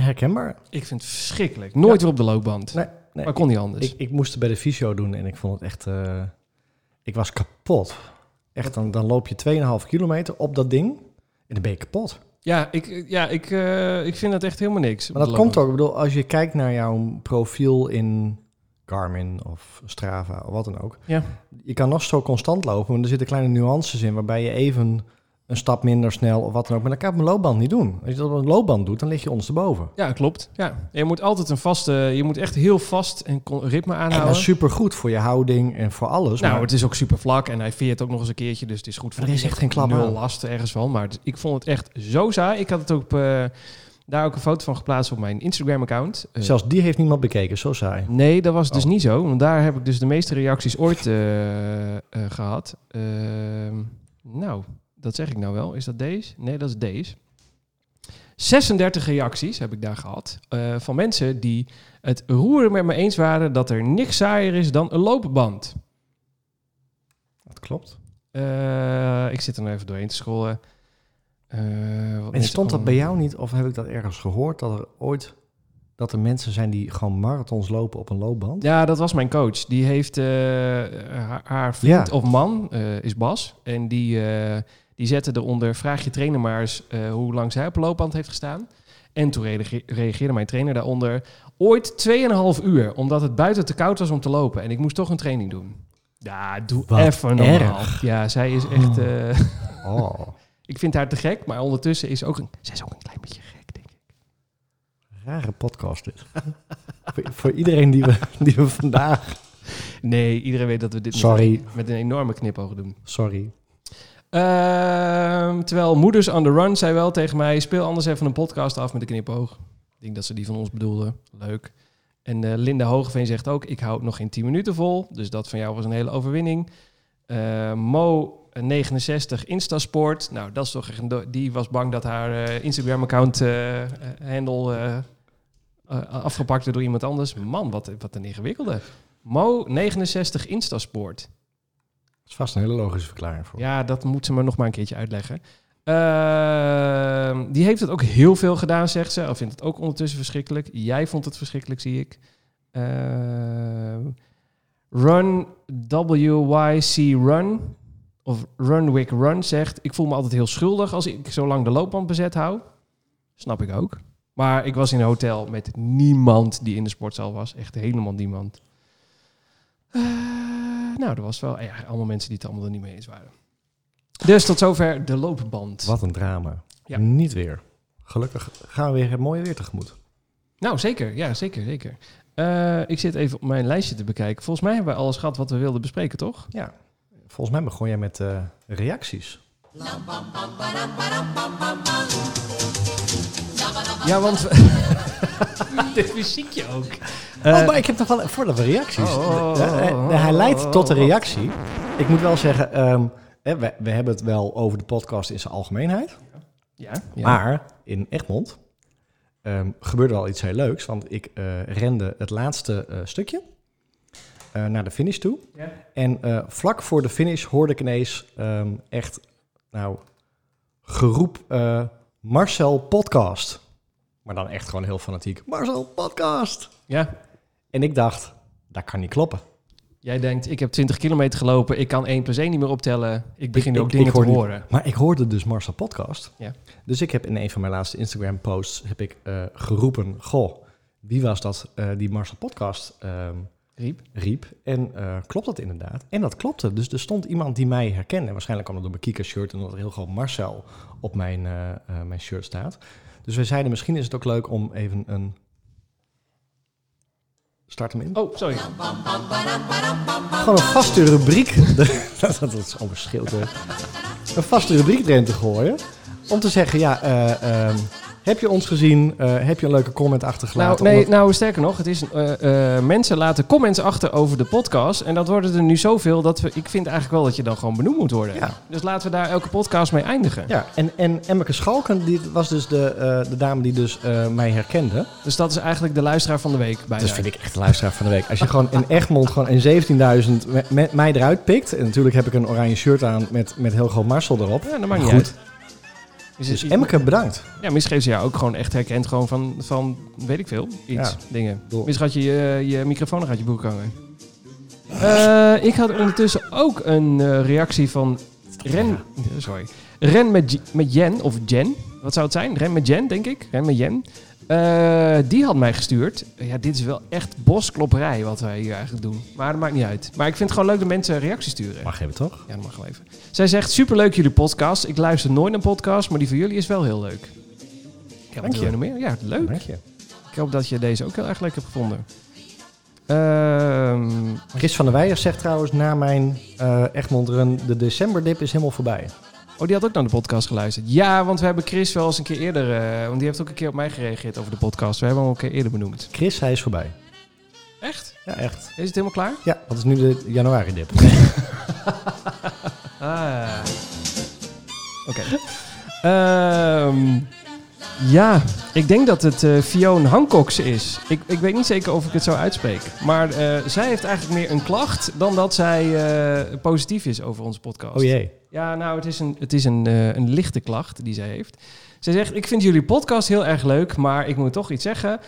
S2: Herkenbaar?
S1: Ik vind het verschrikkelijk. Nooit
S2: Ja.
S1: weer op de loopband.
S2: Nee, nee.
S1: Maar kon niet anders.
S2: Ik, ik moest het bij de fysio doen en ik vond het echt... eh, ik was kapot. Echt, dan, dan loop je 2,5 kilometer op dat ding en dan ben je kapot.
S1: Ja, ik, ja ik, eh, ik vind dat echt helemaal niks. op
S2: Maar
S1: de
S2: dat komt
S1: loopband.
S2: ook, ik bedoel, als je kijkt naar jouw profiel in Garmin of Strava of wat dan ook.
S1: Ja.
S2: Je kan nog zo constant lopen, maar er zitten kleine nuances in waarbij je even een stap minder snel of wat dan ook. Maar dat kan je op een loopband niet doen. Als je dat op een loopband doet, dan lig je ondersteboven.
S1: Ja, klopt. Ja. Je moet altijd een vaste... Je moet echt heel vast en con- ritme
S2: En
S1: aanhouden.
S2: dat is super goed voor je houding en voor alles.
S1: nou,
S2: maar-
S1: het is ook super vlak en hij veert ook nog eens een keertje, dus het is goed voor
S2: Er is echt geen klap
S1: nul
S2: aan.
S1: last ergens van. Maar het- ik vond het echt zo saai. Ik had het ook op, eh, Daar ook een foto van geplaatst op mijn Instagram-account. Eh,
S2: Zelfs die heeft niemand bekeken, zo saai.
S1: Nee, dat was dus
S2: Oh.
S1: niet zo. Want daar heb ik dus de meeste reacties ooit eh, eh, gehad. Ehm, nou, dat zeg ik nou wel. Is dat deze? Nee, dat is deze. 36 reacties heb ik daar gehad. eh, van mensen die het roeren met me eens waren dat er niks saaier is dan een loopband.
S2: Dat klopt.
S1: Eh, ik zit er nou even doorheen te scrollen. Eh, wat
S2: En
S1: mensen
S2: stond dat
S1: allemaal-
S2: bij jou niet, of heb ik dat ergens gehoord, dat er ooit dat er mensen zijn die gewoon marathons lopen op een loopband?
S1: Ja, dat was mijn coach. Die heeft eh, haar, haar vriend
S2: Ja.
S1: of man, eh, is Bas. En die, eh, die zette eronder, vraag je trainer maar eens eh, hoe lang zij op een loopband heeft gestaan. En toen reage- reageerde mijn trainer daaronder, ooit 2,5 uur, omdat het buiten te koud was om te lopen. En ik moest toch een training doen. Ja, doe
S2: Wat
S1: even normaal.
S2: erg.
S1: Ja, zij is echt...
S2: Oh.
S1: eh,
S2: Oh,
S1: ik vind haar te gek, maar ondertussen is ze ook een, zij is ook een klein beetje gek, denk ik.
S2: rare podcast dit. [LAUGHS] voor, voor iedereen die we, die we vandaag...
S1: Nee, iedereen weet dat we dit met
S2: Sorry.
S1: een- met een enorme knipoog doen.
S2: Sorry.
S1: Ehm, terwijl Moeders on the Run zei wel tegen mij: speel anders even een podcast af met een knipoog. Ik denk dat ze die van ons bedoelde. Leuk. En eh, Linda Hogeveen zegt ook: ik hou het nog geen 10 minuten vol. Dus dat van jou was een hele overwinning. Eh, Mo. 69 Instasport. Nou, dat is toch echt een do- die was bang dat haar eh, Instagram-account eh, eh, handle eh, eh, afgepakt werd door iemand anders. Man, wat, wat een ingewikkelde. Mo 69 Instasport.
S2: Dat is vast een hele logische verklaring voor.
S1: Ja, dat moet ze me nog maar een keertje uitleggen. Ehm, die heeft het ook heel veel gedaan, zegt ze. Of vindt het ook ondertussen verschrikkelijk. Jij vond het verschrikkelijk, zie ik. Ehm, run WYC Run. Of Runwick Run zegt... Ik voel me altijd heel schuldig als ik zo lang de loopband bezet hou. Snap ik ook. Maar ik was in een hotel met niemand die in de sportzaal was. Echt helemaal niemand. Eh, nou, er was wel ja, allemaal mensen die het allemaal er niet mee eens waren. Dus tot zover de loopband.
S2: Wat een drama.
S1: Ja.
S2: Niet weer. Gelukkig gaan we weer het mooie weer tegemoet.
S1: Nou, zeker. Ja, zeker, zeker. Eh, ik zit even op mijn lijstje te bekijken. Volgens mij hebben we alles gehad wat we wilden bespreken, toch?
S2: Ja. Volgens mij begon jij met eh, reacties.
S1: Ja, want... we- [LAUGHS] Dit muziekje ook.
S2: oh, maar ik heb nog wel... Voordat we reacties...
S1: Eh, Oh, oh,
S2: Eh, eh,
S1: oh,
S2: eh, hij
S1: oh,
S2: leidt
S1: oh,
S2: tot een
S1: oh.
S2: reactie. Ik moet wel zeggen... ehm, hè, we, we hebben het wel over de podcast in zijn algemeenheid.
S1: Ja, ja.
S2: Maar in Egmond ehm, gebeurde al iets heel leuks. Want ik eh, rende het laatste eh, stukje eh, naar de finish toe.
S1: Ah. Ja.
S2: En eh, vlak voor de finish hoorde ik ineens ehm, echt... Nou, geroep eh, Marcel Podcast. Maar dan echt gewoon heel fanatiek. Marcel Podcast!
S1: ja.
S2: En ik dacht, dat kan niet kloppen.
S1: Jij denkt, ik heb 20 kilometer gelopen. Ik kan 1 plus 1 niet meer optellen. Ik begin
S2: Ik-
S1: ook
S2: ik-
S1: dingen
S2: ik
S1: te
S2: hoor nu-
S1: horen.
S2: Maar ik hoorde dus Marcel Podcast.
S1: Ja.
S2: Dus ik heb in een van mijn laatste Instagram posts heb ik, eh, geroepen... Goh, wie was dat eh, die Marcel Podcast ehm,
S1: Riep.
S2: riep? En eh, klopt dat inderdaad? En dat klopte. Dus er stond iemand die mij herkende. En waarschijnlijk kwam dat door mijn Kika shirt... en dat er heel groot Marcel op mijn, eh, eh, mijn shirt staat. Dus wij zeiden, misschien is het ook leuk om even een... Start hem in.
S1: Oh, sorry.
S2: Gewoon een vaste rubriek. [LAUGHS] dat, dat is allemaal schild, hè. Een vaste rubriek erin te gooien. Om te zeggen, ja, eh, ehm, heb je ons gezien? Eh, heb je een leuke comment
S1: Nou,
S2: achtergelaten?
S1: nee,
S2: Omdat-
S1: nou, sterker nog, het is, eh, eh, mensen laten comments achter over de podcast. En dat worden er nu zoveel dat we, ik vind eigenlijk wel dat je dan gewoon benoemd moet worden.
S2: Ja.
S1: Dus laten we daar elke podcast mee eindigen.
S2: Ja, en, en Emmeke Schalken die was dus de, eh, de dame die dus eh, mij herkende.
S1: Dus dat is eigenlijk de luisteraar van de week bijna.
S2: Dus vind ik echt de luisteraar van de week. Als je gewoon in Egmond gewoon in 17.000 me- me- mij eruit pikt. En natuurlijk heb ik een oranje shirt aan met, met heel groot Marcel erop.
S1: Ja, dat maakt niet
S2: Goed.
S1: uit. Is het-
S2: Dus Emmeke, bedankt.
S1: Ja, misschien heeft ze jou ook gewoon echt herkend gewoon van, van weet ik veel, iets,
S2: Ja.
S1: dingen.
S2: Bedoel-
S1: Misschien had je je, je microfoon nog uit je broek hangen. Eh, ik had ondertussen ook een eh, reactie van Ren, eh, sorry, Ren met, J- met Jen, of Jen, wat zou het zijn? Ren met Jen, denk ik. Ren met Jen. Eh, die had mij gestuurd. Eh, Ja, dit is wel echt bosklopperij wat wij hier eigenlijk doen. Maar dat maakt niet uit. Maar ik vind het gewoon leuk dat mensen reacties sturen.
S2: Mag hebben, toch?
S1: Ja, dat mag wel even. Zij zegt, superleuk jullie podcast. Ik luister nooit naar podcasts, maar die van jullie is wel heel leuk. Ja,
S2: Dank
S1: wat wil
S2: je.
S1: je nog meer? Ja, leuk.
S2: Dank je.
S1: Ik hoop dat je deze ook heel erg leuk hebt gevonden. Ehm,
S2: Chris van der Weijer zegt trouwens na mijn eh Egmond Run... de decemberdip is helemaal voorbij.
S1: oh, Oh, die had ook naar de podcast geluisterd. Ja, want we hebben Chris wel eens een keer eerder... eh, want die heeft ook een keer op mij gereageerd over de podcast. We hebben hem al een keer eerder benoemd.
S2: Chris, hij is voorbij.
S1: Echt?
S2: Ja, echt.
S1: Is het helemaal klaar?
S2: Ja, wat is nu de januari-dip?
S1: Ah. Oké. Ehm, ja, ik denk dat het eh Fionn Hancox is. Ik, ik weet niet zeker of ik het zo uitspreek. Maar eh, zij heeft eigenlijk meer een klacht dan dat zij eh, positief is over onze podcast.
S2: Oh jee.
S1: Ja, nou, het is, een, het is een, eh, een lichte klacht die zij heeft. Zij zegt, ik vind jullie podcast heel erg leuk, maar ik moet toch iets zeggen.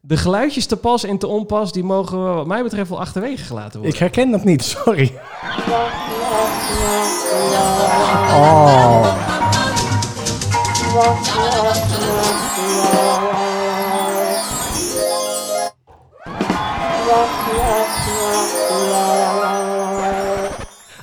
S1: De geluidjes te pas en te onpas, die mogen wat mij betreft wel achterwege gelaten worden.
S2: Ik herken dat niet, [LAUGHS] sorry. Oh.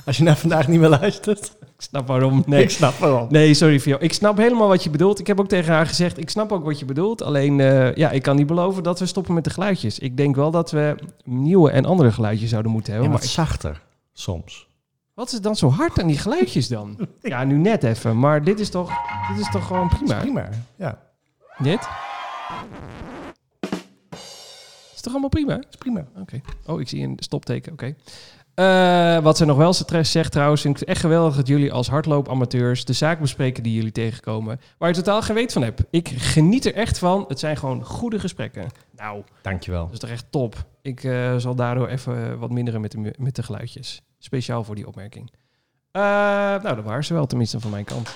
S2: Als je naar vandaag niet meer luistert.
S1: Ik snap waarom. Nee,
S2: Ik snap wel.
S1: nee sorry Fio. Ik snap helemaal wat je bedoelt. Ik heb ook tegen haar gezegd, ik snap ook wat je bedoelt. Alleen, eh, ja, ik kan niet beloven dat we stoppen met de geluidjes. Ik denk wel dat we nieuwe en andere geluidjes zouden moeten hebben. maar
S2: wat zachter soms.
S1: wat is dan zo hard aan die geluidjes [LAUGHS] dan? Ja, nu net even. Maar dit is toch, dit is toch gewoon prima.
S2: Prima. Ja,
S1: Dit? Is toch allemaal prima?
S2: is prima.
S1: Oké. Oh, ik zie een stopteken. Oké. Eh, wat ze nog wel stress zegt trouwens, vind ik het echt geweldig dat jullie als hardloopamateurs de zaak bespreken die jullie tegenkomen, waar je totaal geen weet van hebt. Ik geniet er echt van. Het zijn gewoon goede gesprekken. Nou,
S2: Dankjewel.
S1: dat is toch echt top. Ik eh, zal daardoor even wat minderen met de, mu- met de geluidjes. Speciaal voor die opmerking. Eh, nou, dat waren ze wel, tenminste van mijn kant.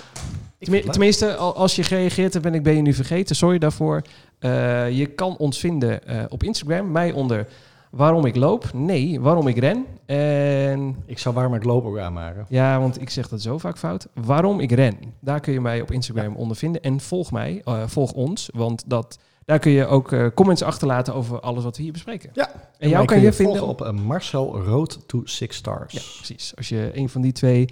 S1: Tenmi- tenminste, al- als je gereageerd hebt, ben ik, ben je nu vergeten. Sorry daarvoor. Eh, je kan ons vinden eh, op Instagram, mij onder waarom ik loop. Nee, waarom ik ren. En
S2: Ik zou waarom ik loop ook aanmaken.
S1: ja, want ik zeg dat zo vaak fout. Waarom ik ren. Daar kun je mij op Instagram onder vinden. En volg mij, eh, volg ons. Want dat, daar kun je ook eh, comments achterlaten over alles wat we hier bespreken.
S2: Ja.
S1: En jou
S2: Mij
S1: kan
S2: kun
S1: je vinden
S2: volgen op eh, Marcel Road to Six Stars.
S1: Ja, precies. Als je een van die twee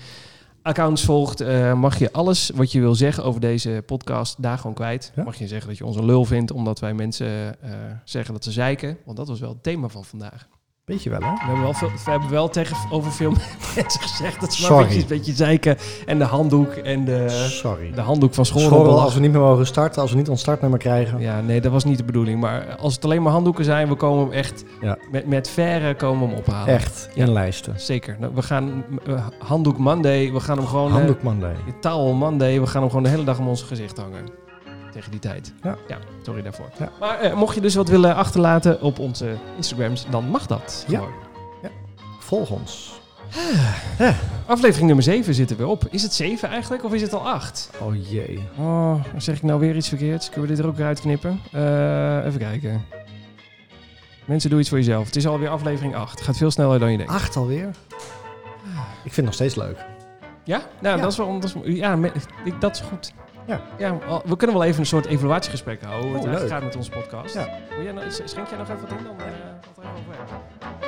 S1: accounts volgt, eh, mag je alles wat je wil zeggen over deze podcast daar gewoon kwijt.
S2: Ja.
S1: Mag je zeggen dat je ons een lul vindt, omdat wij mensen eh, zeggen dat ze zeiken. Want dat was wel het thema van vandaag.
S2: Weet je wel, hè?
S1: We hebben wel, veel, we hebben wel tegen over veel [LAUGHS] mensen gezegd dat ze maar
S2: Sorry.
S1: een beetje, een beetje zeiken. En de handdoek en de,
S2: Eh, Sorry.
S1: de handdoek van school.
S2: Schorrel als we niet meer mogen starten, als we niet ons startnummer krijgen.
S1: Ja, nee, dat was niet de bedoeling. Maar als het alleen maar handdoeken zijn, we komen hem echt
S2: Ja.
S1: met, met verre komen we hem ophalen.
S2: Echt, in
S1: Ja.
S2: lijsten.
S1: Zeker. Nou, we gaan eh, handdoek Monday, we gaan hem gewoon... eh,
S2: Handdoek Monday.
S1: Die towel Monday, we gaan hem gewoon de hele dag om ons gezicht hangen. Tegen die tijd.
S2: Ja.
S1: sorry daarvoor.
S2: Ja.
S1: Maar eh, mocht je dus wat willen achterlaten op onze Instagrams, dan mag dat.
S2: Ja.
S1: gewoon.
S2: Volg ons.
S1: Aflevering nummer 7 zit er weer op. Is het 7 eigenlijk of is het al 8?
S2: Oh jee.
S1: Oh, zeg ik nou weer iets verkeerds? Kunnen we dit er ook weer uitknippen? Eh, even kijken. Mensen, doe iets voor jezelf. Het is alweer aflevering 8. Gaat veel sneller dan je denkt.
S2: Acht alweer? Ik vind het nog steeds leuk.
S1: Ja? Nou,
S2: Ja.
S1: dat is wel... Dat is, ja, me- ik- dat is goed.
S2: Ja.
S1: al- we kunnen wel even een soort evaluatiegesprek houden. hoe het
S2: Oh,
S1: eigenlijk
S2: leuk.
S1: gaat met onze podcast.
S2: Ja.
S1: Wil jij nou, schenk jij nog even wat in? Dan eh, valt er even overheen.